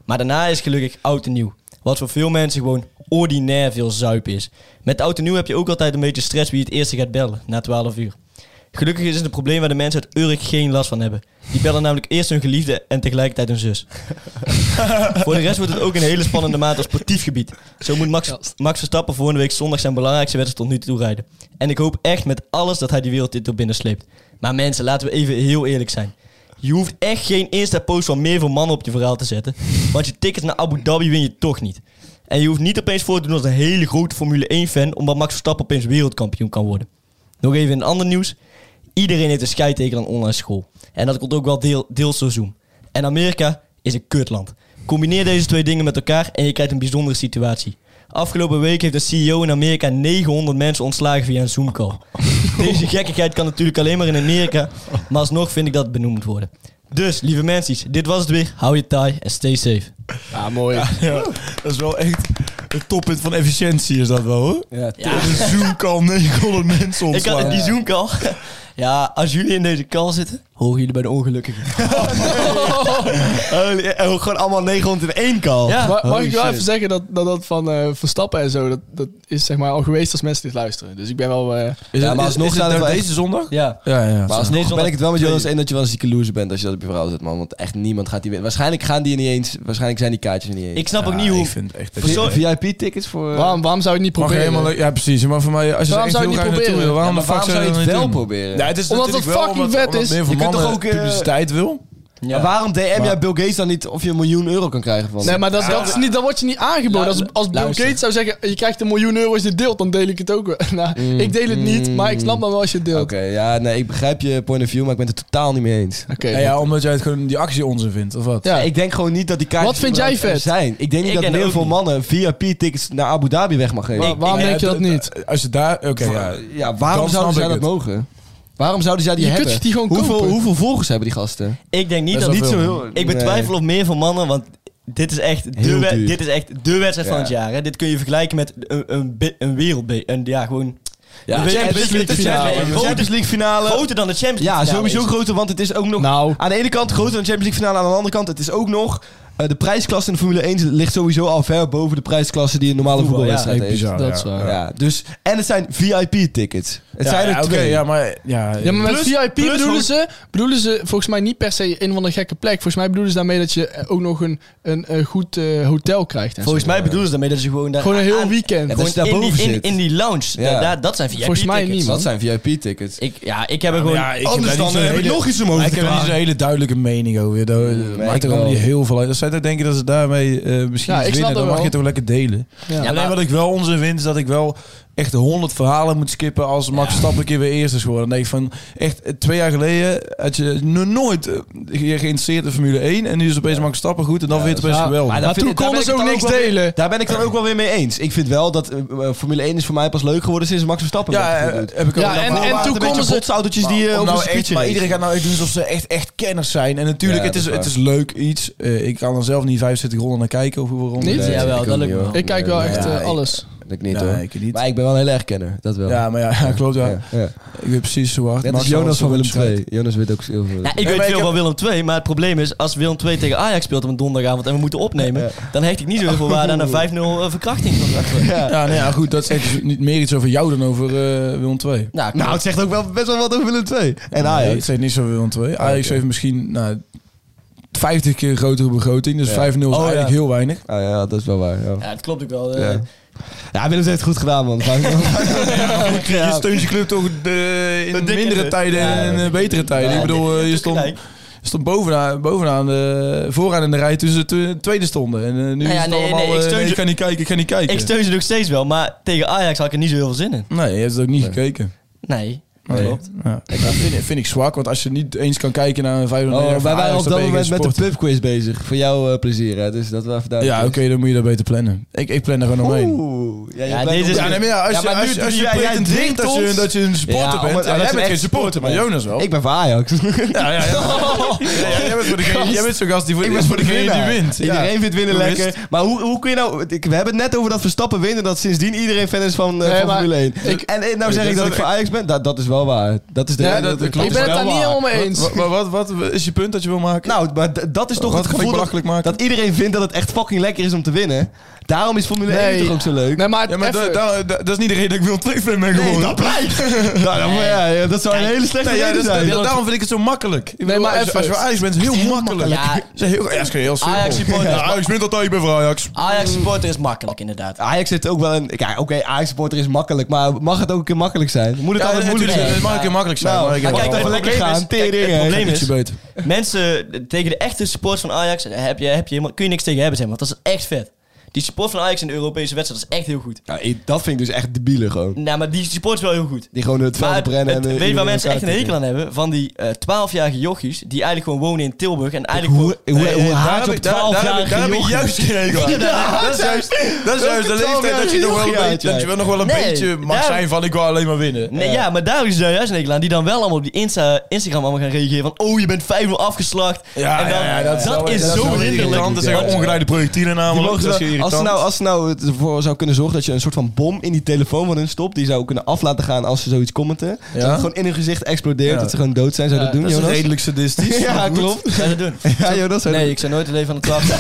Maar daarna is gelukkig oud en nieuw. Wat voor veel mensen gewoon ordinair veel zuip is. Met oud en nieuw heb je ook altijd een beetje stress wie het eerste gaat bellen na 12 uur. Gelukkig is het een probleem waar de mensen uit Urk geen last van hebben. Die bellen namelijk eerst hun geliefde en tegelijkertijd hun zus. voor de rest wordt het ook een hele spannende maand op sportief gebied. Zo moet Max, Max Verstappen volgende week zondag zijn belangrijkste wedstrijd tot nu toe rijden. En ik hoop echt met alles dat hij die wereldtitel binnensleept. Maar mensen, laten we even heel eerlijk zijn. Je hoeft echt geen Insta-post van meer voor mannen op je verhaal te zetten. Want je tickets naar Abu Dhabi win je toch niet. En je hoeft niet opeens voor te doen als een hele grote Formule 1-fan... omdat Max Verstappen opeens wereldkampioen kan worden. Nog even in ander nieuws. Iedereen heeft een scheidteken aan online school. En dat komt ook wel deel, deels door Zoom. En Amerika is een kutland. Combineer deze twee dingen met elkaar en je krijgt een bijzondere situatie. Afgelopen week heeft een CEO in Amerika 900 mensen ontslagen via een Zoom-call. Deze gekkigheid kan natuurlijk alleen maar in Amerika, maar alsnog vind ik dat het benoemd worden. Dus, lieve mensen, dit was het weer. Hou je taai en stay safe. Ja, mooi. Ja, dat is wel echt het toppunt van efficiëntie is dat wel hoor. Ja, Een Zoom kan 900 mensen Ik had ontslaan. die Zoom-call. Ja, als jullie in deze call zitten, horen jullie bij de Oh, ongelukkigen. eh, gewoon allemaal 900 in één call. Ja. Maar, mag Holy ik wel shit. even zeggen dat dat, dat van eh, Verstappen en zo, dat, dat is zeg maar al geweest als mensen dit luisteren. Dus ik ben wel... Is eh, Ja, het, maar maar alsnog alsnog is, zouden het we nou echt- deze zondag? Ja. Ja, ja. Maar Nee, alsnog zodat- ben ik het wel met Jonas Nee. eens dat je wel een zieke loser bent als je dat op je verhaal zet, man. Want echt niemand gaat die winnen. Waarschijnlijk gaan die er niet eens. Waarschijnlijk zijn die kaartjes er niet eens. Ik snap ook Ja, niet hoe... Ik vind het echt... Persoon- VIP-tickets voor... eh, waarom, waarom zou je het niet Mag je proberen? helemaal, ja, precies. Maar voor mij, als je er Waarom echt zou heel je graag het naartoe niet proberen? wil, waarom Ja, de maar fuck waarom zou zou je je het niet wel doen? proberen? Ja, het is Omdat het natuurlijk wel fucking omdat- vet omdat is. meer voor Je kunt mannen toch ook, eh, publiciteit wil? Ja. En waarom DM jij Bill Gates dan niet of je een miljoen euro kan krijgen van? Nee, maar dat, dat, is niet, dat wordt je niet aangeboden. Als, als Bill luister. Gates zou zeggen, je krijgt een miljoen euro als je het deelt, dan deel ik het ook. wel. nou, ik deel het niet, maar ik snap maar wel als je het deelt. Oké, ja, nee, ik begrijp je point of view, maar ik ben het er totaal niet mee eens. Oké. Ja, ja, omdat jij het gewoon die actie onzin vindt, of wat? Ja. Ik denk gewoon niet dat die kaartjes Wat vind jij überhaupt er vet? zijn. Ik denk niet Ik dat ken heel ook veel niet. mannen VIP-tickets naar Abu Dhabi weg mag geven. Wa- waarom Ja, denk je dat d- niet? d- Als je daar... Oké, ja. ja, waarom Dan zouden snap zij ik dat het. mogen? Waarom zouden zij die Je kunt hebben? ze die gewoon hoeveel, kopen. hoeveel volgers hebben die gasten? Ik denk niet Best dat... wel Niet veel, zo man. heel, ik betwijfel of meer van mannen, want dit is echt de, Heel we- duur. dit is echt de wedstrijd Ja. van het jaar. Hè. Dit kun je vergelijken met een, een, bi- een wereldbe- Een, ja, gewoon... Ja, een Champions wereldbe- League een finale. Champions League- Champions League finale. Groter dan de Champions League Ja, finale sowieso is. groter, want het is ook nog... Nou, Aan de ene kant groter dan de Champions League finale, aan de andere kant het is ook nog... eh, de prijsklasse in de Formule 1 ligt sowieso al ver boven de prijsklasse die een normale Voetbal, ja. voetbalwedstrijd heeft. bizar. dat is waar. Ja. dus, en het zijn VIP-tickets. Het zijn er ja, oké, twee. ja, maar... Ja, Ja, maar met Plus- VIP plus bedoelen, gewoon- ze, bedoelen ze volgens mij niet per se een of andere gekke plek. Volgens mij bedoelen ze daarmee dat je eh, ook nog een, een, eh, goed eh, hotel krijgt. En zo. Volgens mij bedoelen ze daarmee dat ze gewoon daar... Gewoon een heel aan- Ja, weekend. gewoon dat je daarboven in, die, in, zit. in die lounge. Ja. Ja. Daar, dat zijn VIP Volgens mij tickets. niet, man. Dat zijn VIP-tickets. Ik, ja, ik heb er gewoon... ja, ik heb Anders daar niet dan zo'n eh, heb ik hele- nog iets omhoog Maar te ik heb niet klagen. zo'n hele duidelijke mening over. Dat ik maakt er wel. allemaal niet heel veel uit. Als zij dan denken dat ze daarmee eh, misschien Ja, iets ik snap winnen, dat dan mag wel. je het toch lekker delen. Ja. Alleen wat ik wel onzin vind, is dat ik wel echt honderd verhalen moet skippen als Max Verstappen een keer weer eerst is geworden. Dan denk ik van, echt eh, twee jaar geleden had je nog nooit eh, je geïnteresseerd in Formule 1 en nu is opeens Max Verstappen goed en dan vind je het opeens ja. geweldig. Maar toen konden ze ook niks delen. Daar ben ik dan ook wel weer mee eens. Ik vind wel dat eh, eh, Formule 1 is voor mij pas leuk geworden sinds Max Verstappen. Ja, dat eh, goed doet. heb ik ook Ja, wel en- een en paar toen een beetje konden ze- botsautootjes die eh, Om op nou een echt, circuitje maar racen. iedereen gaat nou echt doen alsof ze echt, echt kenners zijn. En natuurlijk, Ja, het, dat is, is waar. het is leuk iets. Eh, ik kan er zelf niet 75 ronden naar kijken of hoeveel ronden. Niet? het is. Jawel, ik dat ook lukt niet, me hoor. Ik kijk wel Nee, echt ja, eh, ik- alles. Ik niet Nee, hoor. ik niet. Maar ik ben wel een heel erg kenner, dat wel. Ja, maar ja, klopt wel. Ja, ja. Ik weet precies zo hard. Net als Max Jonas alles van Willem omschrijft. 2. Jonas weet ook heel veel. Nou, ik maar weet ik veel heb- van Willem II, maar het probleem is... als Willem II tegen Ajax speelt op een donderdagavond... en we moeten opnemen... dan hecht ik niet zo heel veel waarde aan een 5-0 verkrachting. Ja, nee, ja, goed, dat zegt dus niet meer iets over jou dan over eh Willem 2. Nou, Nou, het zegt ook wel best wel wat over Willem 2. En Nee, het Ajax. zegt niet zo over Willem 2. Ajax Oké. heeft misschien nou, 50 keer een grotere begroting, dus 5-0 is Oh, ja. eigenlijk heel weinig. Ah ja, dat is wel waar. Ja, ja, het klopt ook wel. Ja. Oh, eh. ja Willem II heeft het goed gedaan, man. Je steunt je club toch eh, in dikke- mindere tijden Ja, en eh, betere tijden. Ja, Ik bedoel, eh, je natuurlijk stond, gelijk. je stond bovenaan, bovenaan de, vooraan in de rij toen ze twe- tweede stonden. En eh, nu ja, is het nee, allemaal, nee, ik eh, steun nee, ze- ik kan niet kijken, ik kan niet kijken. Ik steun ze nog steeds wel, maar tegen Ajax had ik er niet zo heel veel zin in. nee, je hebt het ook niet gekeken. Nee, dat Nee. klopt. Ja. Ik vind, vind ik zwak, want als je niet eens kan kijken naar een 5 Oh, wij waren op dat moment met de pubquiz bezig. Voor jouw eh, plezier, hè. Dus dat we even duidelijk Ja, oké, is. dan moet je dat beter plannen. Ik, ik plan er gewoon omheen. Oeh. Ja, je Ja, blijft deze op- is- Ja, nee, maar ja, als, je, als, je- als je jij- jij pretendeert dwingt dat je, ons- dat je een supporter Ja, bent... omdat- Ja, omdat jij je bent geen echt supporter, maar supporter Jonas wel. Ik ben voor Ajax. ja, ja, ja. Ja, jij bent voor degene- jij bent zo'n gast die voor, ben voor degene die winnaar. wint. Ja. Iedereen vindt winnen Toerist. lekker. Maar hoe, hoe kun je nou... ik- we hebben het net over dat Verstappen winnen... dat sindsdien iedereen fan is van, eh, Nee, van maar Formule 1. ik- en eh, nou zeg dat ik dat is- ik voor Ajax ben? Dat, dat is wel waar. Dat is de Ja, reden dat- dat klopt. Ik ben het Wel daar niet waar. helemaal mee eens. Maar wat, wat, wat is je punt dat je wil maken? Nou, maar d- dat is toch Wat het kan ik gevoel dat, belachelijk maken? dat iedereen vindt dat het echt fucking lekker is om te winnen. Daarom is Formule 1 Nee. toch ook zo leuk? Nee, maar, ja, maar da- even- da- da- dat is niet de reden dat ik wil terugfilmen ben Nee, geworden. dat blijkt. Nou, dan- ja, ja, dat dus- zou een hele slechte Nee, ja, reden dat- zijn. dat- daarom vind ik het zo makkelijk. Ik bedoel, maar als, even. als je voor Ajax bent, is het heel, makkelijk. Ja, makkelijk. Ze heel, ja, is heel simpel. Ajax supporter. Ja, Ajax wint altijd, ik ben voor Ajax. Ah. Ajax supporter is makkelijk, inderdaad. Ajax zit ook wel een... Ja, oké, Ajax supporter is makkelijk, maar mag het ook een keer makkelijk zijn? Moet het altijd moeilijk natuurlijk, zijn? Het mag een keer makkelijk zijn. Nou, maar ik kijk, heb kijk, wel- even lekker probleem is- gaan. Tering, kijk, het hè. probleem is- ietsje beter. Mensen, tegen de echte support van Ajax heb je, heb je helemaal, kun je niks tegen hebben, zeg maar. Want dat is echt vet. Die support van Ajax in de Europese wedstrijd dat is echt heel goed. Nou, ik- dat vind ik dus echt debiele gewoon. Nou, maar die support is wel heel goed. Die gewoon het veld Maar op rennen. en, het- eh, weet je waar iedereen mensen echt een elkaar hekel tikken. aan hebben? Van die eh, 12-jarige jochies die eigenlijk gewoon wonen in Tilburg en eigenlijk Hoe, gewoon... hoe, hoe, Nee, Daar haat heb je op ik- daar- daar heb ik- 12-jarige daar heb ik jongen? juist geen regel aan. Dat is juist- dat is juist de Welke leeftijd dat je nog wel een twaalfjarige beetje- dat je wel nog wel een Nee, beetje mag daar- zijn van ik wil alleen maar winnen. Nee, ja, maar daar is daar juist een hekel aan. Die dan wel allemaal op die Insta, Instagram allemaal gaan reageren van... Oh, je bent 5-0 afgeslacht. Ja, en dan, ja, ja, dat is wel- is dat is zo wel hinderlijk. irritant. Dat zijn oh, ongeleide projectielen Die namelijk. mogen ze Dat is wel- als, ze irritant. nou, als ze nou het ervoor zou kunnen zorgen dat je een soort van bom in die telefoon van hun stopt, die zou kunnen af laten gaan als ze zoiets commenten. Ja. Dat het gewoon in hun gezicht explodeert, Ja. dat ze gewoon dood zijn. Zou Ja, dat doen, Dat is Jonas? redelijk sadistisch. ja, maar goed. klopt. Ga je dat doen? Ja, Jonas. zou Nee, dat- ik zou nooit het leven aan de twaalf. ja,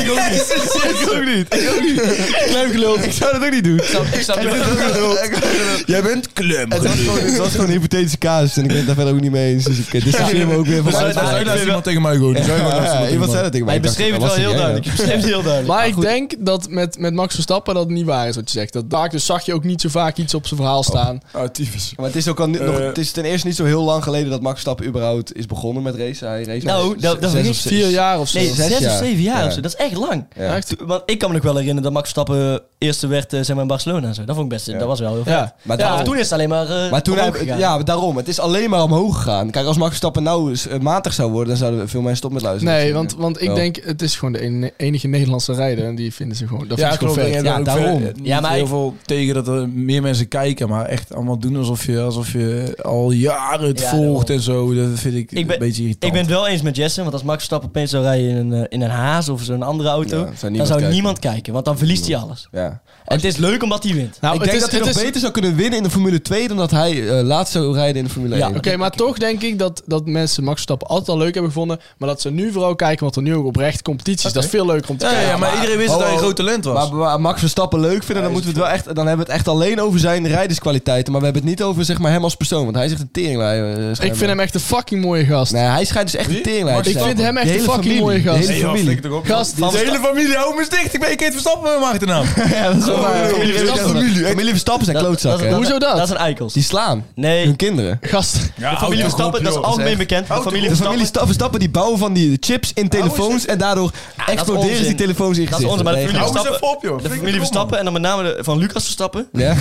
ik ook niet. ik ook niet. Ik ook niet. Klein gelul. Ik zou dat ook niet doen. Ik snap het ook niet. Jij bent klem. Het was, gewoon, het was gewoon een hypothetische casus en ik ben het daar verder ook niet mee eens. Dus ik eh, distancieer me ook weer van Maar dat uitspraken. is iemand tegen mij gewoon. Ja, iemand zei dat tegen mij. Hij Ik dacht, beschreef het was wel heel duidelijk. Je beseft heel duidelijk. Maar ik denk dat met, met Max Verstappen dat het niet waar is wat je zegt. Dat daar dus zag je ook niet zo vaak iets op zijn verhaal staan. Oh, tyfus. Maar het is, ook al, ni- Eh. nog, het is ten eerste niet zo heel lang geleden dat Max Verstappen überhaupt is begonnen met racen. Hij race Nou, dat- dat is zes. Vier jaar of zo. Nee, zes zes, of jaar. zeven jaar Ja. of zo. Dat is echt lang. Ja. Echt? Want ik kan me nog wel herinneren dat Max Verstappen eerste werd eh, zeg maar in Barcelona en zo. Dat vond ik best, dat was wel heel vet. Ja. Maar, Ja, daarom- toen is het alleen maar eh, maar toen omhoog heb, gegaan. ja, daarom. Het is alleen maar omhoog gegaan. Kijk, als Max Verstappen nou eens, eh, matig zou worden, dan zouden veel mensen stop met luisteren. Nee, want, want ik Wel. denk, het is gewoon de ene- enige Nederlandse rijder. En die vinden ze gewoon, dat Ja, vind ik gewoon klopt. vet. En Ja, ook daarom. ver- niet Ja, maar heel ik- veel tegen dat er meer mensen kijken, maar echt allemaal doen alsof je, alsof je al jaren het Ja, volgt en zo. Dat vind ik, Ik ben- een beetje irritant. Ik ben het wel eens met Jesse, want als Max Verstappen opeens zou rijden in een, eh, in een haas of zo'n andere auto, Ja, zou dan zou niemand kijken. niemand kijken, want dan verliest hij alles. Ja. En het is leuk omdat hij wint. Nou, ik het denk is- dat hij het nog is- beter zou kunnen winnen in de Formule 2 dan dat hij eh, laatst zou rijden in de Formule Ja, 1. Oké, maar toch denk ik dat, dat mensen Max Verstappen altijd al leuk hebben gevonden. Maar dat ze nu vooral kijken wat er nu ook oprecht competities. Dat is veel leuker om te ja, kijken. ja, maar iedereen wist Oh, dat hij een oh. groot talent was. Maar, maar Max Verstappen leuk vinden, dan, moeten we het wel echt, dan hebben we het echt alleen over zijn rijderskwaliteiten. Maar we hebben het niet over zeg maar, hem als persoon. Want hij is echt een teringlijn. ik vind hem echt een fucking mooie gast. Nee, hij schijnt dus echt een teringlijn te Ik zijn. vind hem echt Die een hele fucking familie, mooie die gast. hele Nee, joh, familie. flikker toch op. Gast, de hele familie, hou me eens dicht. Ik ben ik heet Verstappen, mag de naam. Ja, dat is wel waar. joh, Familie dat is Verstappen. familie, echt. Familie Verstappen zijn Dat- klootzakken. hè? dat- Hoezo Dat zijn eikels. Die slaan Nee, hun kinderen. gast. Ja, de familie Verstappen, dat is algemeen bekend. De familie De familie Verstappen, Oh, Sta- Verstappen die bouwen van die chips in telefoons en daardoor Ah, is exploderen ze die onzin. telefoons in Dat is gezichten. onzin, maar de Nee, familie grap. Hou eens Verstappen- even op, joh. de Flikker familie toch op, man. Verstappen en dan met name de, van Lucas Verstappen, Ja?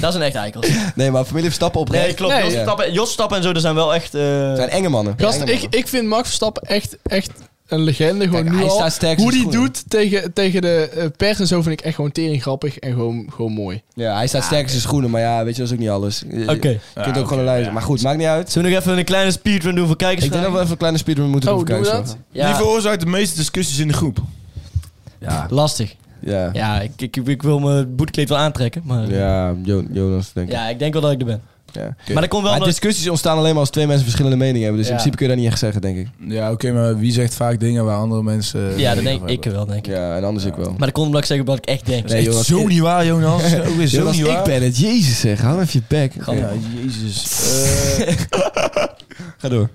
dat zijn echt eikels. Nee, maar familie Verstappen oprecht Nee, klopt. Nee. Jos, Verstappen, Jos Verstappen en zo, dat zijn wel echt... eh, zijn enge mannen. Gast, Enge ik, mannen. ik vind Max Verstappen echt, echt een legende. Gewoon Kijk, nu hij al. staat sterk Hoe in die zijn schoenen. doet tegen, tegen de eh, pers en zo vind ik echt gewoon tering grappig en gewoon, gewoon mooi. Ja, hij staat sterk in zijn schoenen, maar ja, weet je, dat is ook niet alles. Oké. Je kunt ook gewoon een luisteren. Maar goed, maakt niet uit. Zullen we nog even een kleine speedrun doen voor kijkers? Ik denk dat we even een kleine speedrun moeten Oh, doen. voor doen we kijkers. dat? Die ja, veroorzaakt de meeste discussies in de groep. lastig. Ja. Ja, Ja, ik, ik, ik wil mijn boetkleed wel aantrekken, maar... Ja. Jo- Jonas, denk ik. ik denk wel dat ik er ben. Ja. Maar dat komt wel Maar omdat... discussies ontstaan alleen maar als twee mensen verschillende meningen hebben. Dus in Ja. principe kun je dat niet echt zeggen, denk ik. Ja, oké, maar wie zegt vaak dingen waar andere mensen... eh, Ja, dat mening denk over ik hebben? wel, denk ik. Ja, en anders ik wel. Maar dat komt omdat ik zeggen wat ik echt denk. Nee, Jonas, Zo niet waar, Jonas. Ook weer zo Jonas, niet ik waar. ben het. Jezus zeg, hou even je bek. Ja, jezus. Eh, Ga door.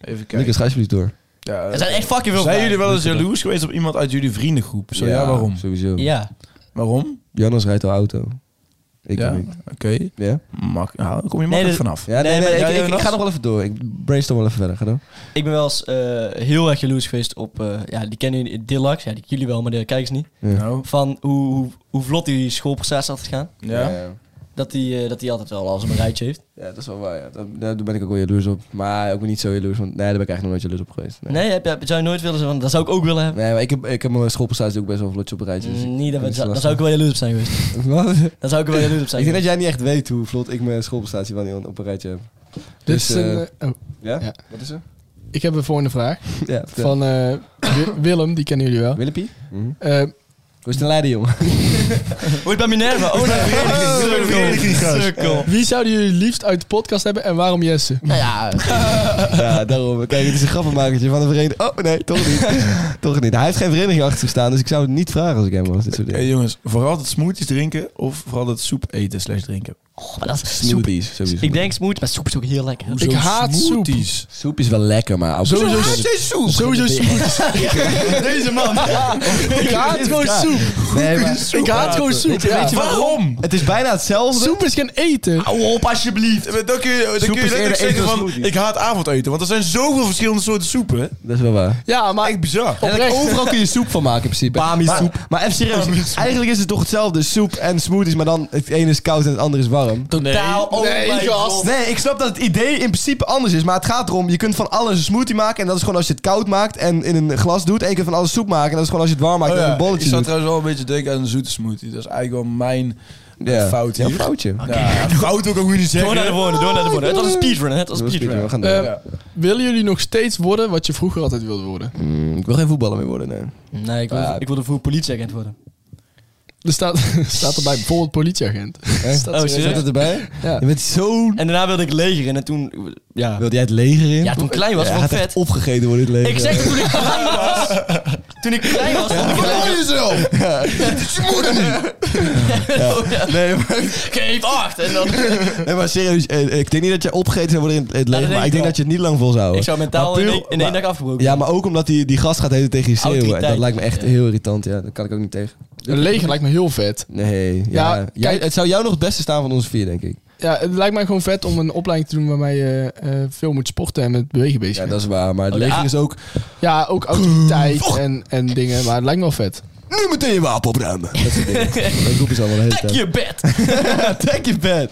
even kijken. Lucas, ga alsjeblieft door. Ja, Er zijn echt fucking veel Zijn jullie wel eens vragen. jaloers geweest op iemand uit jullie vriendengroep? Zo ja, waarom? Sowieso. Ja. Waarom? Jonas rijdt al auto. Ik ja, niet. oké. Ja? Mak- nou, daar kom je Nee, makkelijk dat- vanaf. Ja, nee, Nee, nee, maar- ik- ja, ik, ik, Jonas? ga nog wel even door. Ik brainstorm wel even verder. Ga door. Ik ben wel eens eh, heel erg jaloers geweest op, eh, ja, die kennen jullie, Dillax, ja, die jullie wel, maar de kijkers niet. Oh. Nou, Van hoe, hoe, hoe vlot die schoolprestatie had gegaan. ja. ja. Dat die, eh, dat die altijd wel alles op een rijtje heeft. Ja, dat is wel waar. Ja. Dat, daar ben ik ook wel jaloers op. Maar ook weer niet zo jaloers, want nee, daar ben ik eigenlijk nog nooit jaloers op geweest. Nee, Nee, heb, je- zou je nooit willen zeggen, van, dat zou ik ook willen hebben. Nee, maar ik heb, ik heb mijn schoolprestatie ook best wel vlotjes op een rijtje. Dus ik- Mm, niet, dat, dat we- is zou- lastig. daar zou ik wel jaloers op zijn geweest. Wat? Dan zou ik er wel jaloers op zijn Ik denk dat geweest. jij niet echt weet hoe vlot ik mijn schoolprestatie wel niet op een rijtje heb. Dit Dus, is een, eh, eh, oh, Ja? Ja. Wat is er? ik heb een volgende vraag. Ja, van Van eh, Wi- Willem, die kennen jullie wel. Willepie? Mhm. Eh, Hoe is het in Leiden, jongen? Hoe bij Minerva? Oh, nee, gast. sukkel. wie zouden jullie liefst uit de podcast hebben en waarom Jesse? Nou Ja, daarom. Kijk, het is een grappenmakertje van een vereniging. Oh, nee, toch niet. toch niet. Hij heeft geen vereniging achter zich staan, dus ik zou het niet vragen als ik hem was. Dit soort Hey, dingen. jongens, vooral dat smoothies drinken of vooral dat soep eten slash drinken. Oh, maar dat is soep. Smoothies, sowieso. Ik denk smooth, maar soep is ook heel lekker. Ik haat soep. smoothies. Soep is wel lekker, maar... Sowieso Op- soep. soep. Sowieso smoothies. Deze man. Ik haat gewoon soep. Nee, maar... Ik haat gewoon soep. ja. Waarom? Het is bijna hetzelfde. Soep is geen eten. Hou op alsjeblieft. Dan kun je, dan Soep kun je is eerder letterlijk eten zeggen dan van, smoothies. ik haat avondeten. Want er zijn zoveel verschillende soorten soepen. hè. Dat is wel waar. Ja, maar Echt bizar. oprecht. Overal kun je soep van maken in principe. Bami-soep. Maar, maar even serieus, eigenlijk is het toch hetzelfde. Soep en smoothies, maar dan het ene is koud en het andere is warm. Totaal oh Nee, my gast. God. Nee, ik snap dat het idee in principe anders is. Maar het gaat erom, je kunt van alles een smoothie maken. En dat is gewoon als je het koud maakt en in een glas doet. En je kunt van alles soep maken. En dat is gewoon als je het warm maakt Oh en in ja, een ik bolletje zat doet. trouwens wel een beetje te denken aan een zoete smoothie. Dat is eigenlijk wel mijn eh, Ja. fout Ja, hier. een Ah, foutje. Ja, fout ook, ook weer niet Door zeggen. naar de volgende, door naar de volgende. Het was een speedrun, hè? Het was Dat een was Pieter, speedrun. we gaan door. Eh, willen jullie nog steeds worden wat je vroeger altijd wilde worden? Oh, Mm, ik wil geen voetballer meer worden, nee. Nee, ik wil, Ja. ik wilde vroeger politieagent worden. Er staat, staat erbij bijvoorbeeld politieagent. Oh, Staat er- serieus? Zit het erbij? Ja. Je bent zo... En daarna wilde ik leger in en toen... Ja, Wilde jij het leger in? ja toen ik klein was, Ja, vond ik gaat vet. echt opgegeten worden in het leger. Ik zeg toen ik klein was. Toen ik klein was, vond ik het leuk. jezelf! Oh, ja. Nee, maar, Geef acht! En dan... nee, maar serieus. eh, Ik denk niet dat je opgegeten zou worden in het- het dat leger, denk maar ik ik denk wel. dat je het niet lang vol zou houden. Ik zou mentaal Maar in puur- één, in één maar- dag afgebroken Ja, zijn. maar ook omdat die, die gast gaat de hele tijd tegen je schreeuwen. En dat Autoriteit. lijkt me echt Ja. heel irritant. Ja, dat kan ik ook niet tegen. Een leger lijkt me heel vet. Nee, Ja, ja. kijk- Jij, het zou jou nog het beste staan van onze vier, denk ik. Ja, het lijkt mij gewoon vet om een opleiding te doen waarmee je eh, veel moet sporten en met bewegen bezig Ja, bent. dat is waar. Maar het Oh, ja. leger is ook... Ja, ook autoriteit en, en dingen, maar het lijkt me wel vet. Nu meteen je wapen opruimen. Dat soort dingen. Dat roepen ze allemaal de hele Dek tijd. je bed! Dek je bed.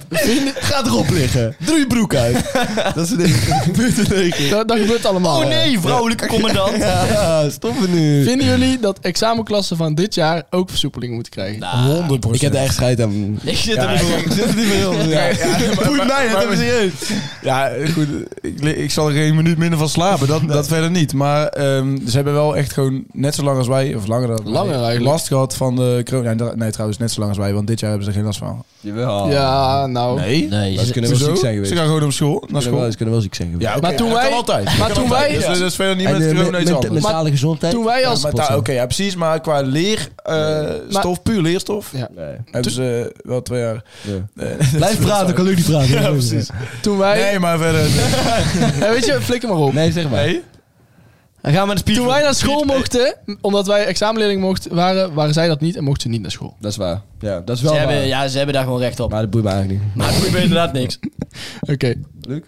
Ga erop liggen. Doe je broek uit. Dat soort dingen. Gebeurt het leger. Dat, dat gebeurt allemaal. Oh nee, vrouwelijke commandant! Ja, stoppen nu. Vinden jullie dat examenklassen van dit jaar ook versoepelingen moeten krijgen? 100 Ik heb er echt scheid aan. Ik zit er niet Ik zit er niet meer in. Ja. Boeit mij, het hebben ze Ja, goed. Ik, li- ik zal er geen minuut minder van slapen. Dat, dat verder niet. Maar ehm, ze hebben wel echt gewoon net zo lang als wij, of langer dan wij, Langer eigenlijk. last gehad van de corona. Nee, nee, trouwens, net zo lang als wij, want dit jaar hebben ze er geen last van. Jawel. Ja, nou. Nee. Nee, Maar ze kunnen wel Hoezo? ziek zijn Ze geweest. gaan gewoon op school, naar Ze kunnen wel- school. ze kunnen wel ziek zijn geweest. Ja, oké, Maar toen ja, dat wij- kan altijd. Dat maar kan toen altijd. wij- Dus dat is verder niet met eh, corona iets anders. mentale gezondheid. Toen wij Ja, als maar Nou, daar- Oké, ja, precies. Maar qua Maar- leerstof, puur leerstof, Ja. Nee. hebben ze wel twee jaar... Blijf praten, kan Luc niet praten. Ja, precies. Toen wij. eh, Nee, maar verder... Ja, weet je, flikker maar op. Nee, zeg maar. Nee. Dan gaan we naar de Toen wij naar school mochten, omdat wij examenleerlingen mochten, waren, waren zij dat niet en mochten ze niet naar school. Dat is waar. Ja, dat is Ze wel waar. hebben, ja, ze hebben daar gewoon recht op. Maar dat boeit me eigenlijk niet. Maar het boeit me Ah, inderdaad niks. Oké.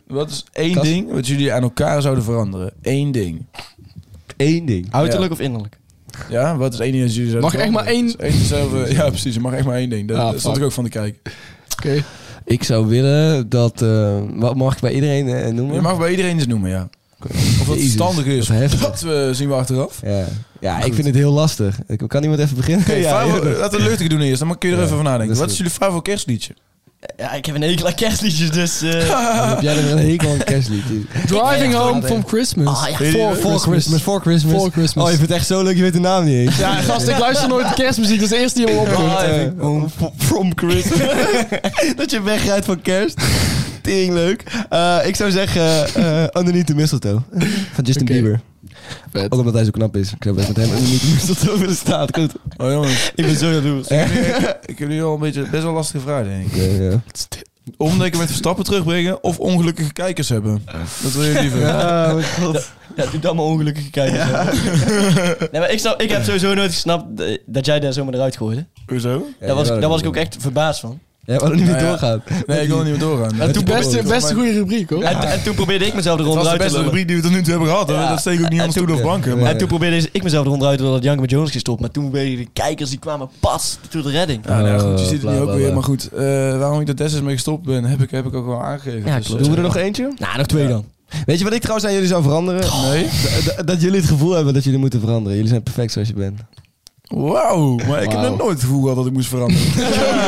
Wat is één Kas- ding wat jullie aan elkaar zouden veranderen? Eén ding. Eén ding. Uiterlijk of innerlijk? Ja, wat is één ding dat jullie zouden Mag echt maar veranderen? één- Dat is één dezelfde- ja, precies. Er mag echt maar één ding. Daar Ah, daar stond fuck. ik ook van te kijken. Oké. Ik zou willen dat... eh, wat mag ik bij iedereen eh, noemen? Je mag bij iedereen eens noemen, ja. Of wat Jezus, verstandig is. wat heftig. Dat eh, zien we achteraf. Ja, ja ik vind het heel lastig. Ik- Kan iemand even beginnen? Oké, ja, Favo- heel goed. laten we luchtig doen eerst. Dan kun je er Ja, even van dat nadenken. is Wat is goed. jullie favoriete kerstliedje? Ja, ik heb een hekel aan kerstliedjes, dus... eh, Dan heb jij er weer een hekel aan het kerstlied? Driving Ja, home ja. from Christmas. Ah, ja. For, for eh, Christmas, for Christmas. For Christmas. Oh, je vindt het echt zo leuk, je weet de naam niet eens. Ja, gast, ik luister nooit de kerstmuziek. Dat is de eerste die me opkomt. Ah, eh, oh, f- from Christmas. dat je wegrijdt van kerst. Tering leuk. Eh, ik zou zeggen eh, Underneath the Mistletoe. Van Justin Oké. Bieber. Vet. Ook omdat hij zo knap is. Ik zou best met hem Underneath the Mistletoe willen staan. Goed. Oh jongens, Ik ben zo jaloers. ik heb nu al een beetje best wel lastige vraag, denk ik. Ja, ja. Omdenken met Verstappen terugbrengen of ongelukkige kijkers hebben? Dat wil je liever. Oh, mijn god. Ja, doe dan maar ongelukkige kijkers. Nee, maar ik, snap, ik heb sowieso nooit gesnapt eh, dat jij daar zomaar eruit gooide. Hoezo? Daar was, daar was ik ook echt verbaasd van. Ja, we hadden niet meer Nou ja. doorgaan. Nee, ik wil er niet meer doorgaan. En toen, probeerde- Beste, beste goede rubriek, hoor. en, en toen probeerde ik mezelf Het eronder was de uit te beste lullen. rubriek die we tot nu toe hebben gehad. hè. Ja. Dat steek ik ook niet En anders toe toen- door banken. Ja. Maar En toen probeerde ik mezelf eronder uit te lullen dat Janke met Jones ging stoppen. Maar toen ben je de kijkers, die kwamen pas tot de redding. Ja, nou ja, goed, je Eh, ziet het bla, nu ook bla, weer. bla. Maar goed, eh, waarom ik er destijds mee gestopt ben, heb ik, heb ik ook wel aangegeven. Ja, Dus, klopt. eh, Doen we er nog eentje? Nou, nog twee dan. Weet je wat ik trouwens aan jullie zou veranderen? Nee? D- d- dat jullie het gevoel hebben dat jullie moeten veranderen. Jullie zijn perfect zoals je bent. Wauw, maar ik heb Wauw. nog nooit het gevoel gehad dat ik moest veranderen.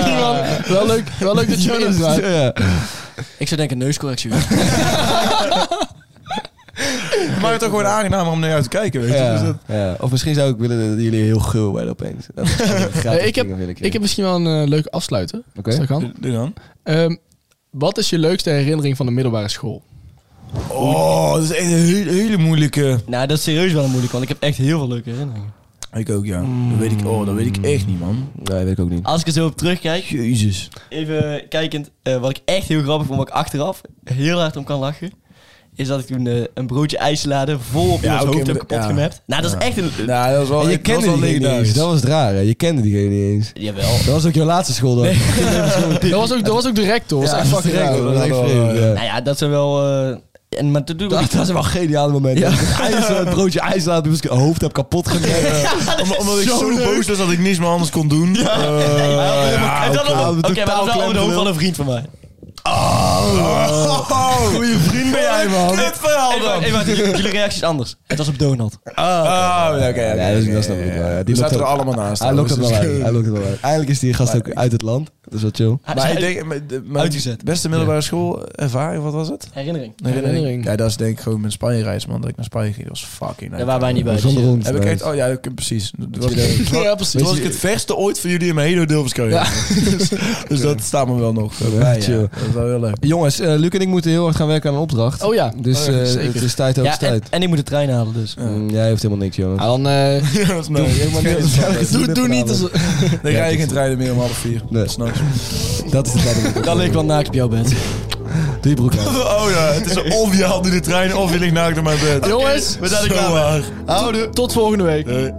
Iemand, wel, leuk, wel leuk dat je erin draait. Ja. Ik zou denken neuscorrectie. Het maakt het ook gewoon aangenamer om naar jou te kijken, weet je. Dus Ja. dat- Ja. Of misschien zou ik willen dat jullie heel gul werden opeens. Dat is een gratis Eh, ik heb- ding wil Ik heb misschien wel een eh, leuke afsluiter. Oké. Als dat kan. Doe- Doe dan. Ehm, wat is je leukste herinnering van de middelbare school? Oh, dat is echt een hele, hele moeilijke. nou, dat is serieus wel een moeilijk, want ik heb echt heel veel leuke herinneringen. Ik ook, ja. Dat weet ik, oh, dat weet Mm. ik echt niet, man. Nee, weet ik ook niet. Als ik er zo op terugkijk, Jezus. Even kijkend, eh, wat ik echt heel grappig vond, wat ik achteraf heel hard om kan lachen, is dat ik toen eh, een broodje ijslade vol Ja, op iemands oké, hoofd heb maar- kapot ja. gemapt. Nou, dat is echt een... Nou, dat was wel En je dat was kende wel diegene niet eens. legendarisch. Dat was het raar, hè? Je kende diegene niet eens. Jawel. Dat was ook je laatste school dan. Dat was ook, dat was ook de rector. Dat was echt fucking gek, raar. hoor. Dat was echt Ja, vreemd, ja. Nou ja, dat zijn wel... eh, en, maar toen doe ik ook Dat, niet- dat is wel een geniaal moment. Ja. Het, ijs, eh, het broodje ijs laat mijn hoofd heb kapot gekregen. Om- omdat ik Zo zo leuk. boos was dat ik niks meer anders kon doen. Eh, ja, en dan oké. nog- Oké, totaal maar dan over de klemgeluid. hoofd van een vriend van mij. Oh, goeie vriend ben jij, man. Dit verhaal Even, dan. even, jullie jullie reacties anders. Het was op Donald. Ah, oké. oké, oké, Ja, dat is- dat snap oké, ik wel, ja. oké. Die We loopt zaten er ook- allemaal naast. Hij lokt het wel trouwens, dus- uit. Hij lokt het wel uit. Eigenlijk is die gast ook uit het land. Dat is wel chill. dus Hij is Maar ik uit- denk, maar de- mijn uitgezet. beste middelbare school ervaring, wat was het? Herinnering. Herinnering. Ja, dat is denk ik gewoon mijn Spanje reis, man. Dat ik naar Spanje ging, dat was fucking nice. Daar waren wij niet bij. Zonder eh, dus, hond. Heb ik echt, oh ja, ik, precies. Dat was, Ja, precies. toen was ik het verste ooit van jullie in mijn hele Dilverscarrière. dus, dus dat staat me wel nog eh, bij, ja. Chill. Dat is wel heel leuk. Jongens, eh, Luc en ik moeten heel hard gaan werken aan een opdracht. Oh ja. Dus Oh ja, eh, zeker. het is tijd over Ja, en, tijd. en ik moet de trein halen, dus. Mm, jij heeft helemaal niks, jongen. Ah, dan, eh, Ja, dat is Doe- leuk. doe- Doe- doe- doe niet als... Dan Ja, rij je dat geen is- treinen meer om half vier. Nee. S'nachts. Dat is de tijd. Dan lig ik wel naakt op jouw bed. Doe je broek aan. Oh ja, het is of je haalt nu de trein of je ligt naakt op mijn bed. jongens, We zijn er klaar mee. houden. Tot volgende week.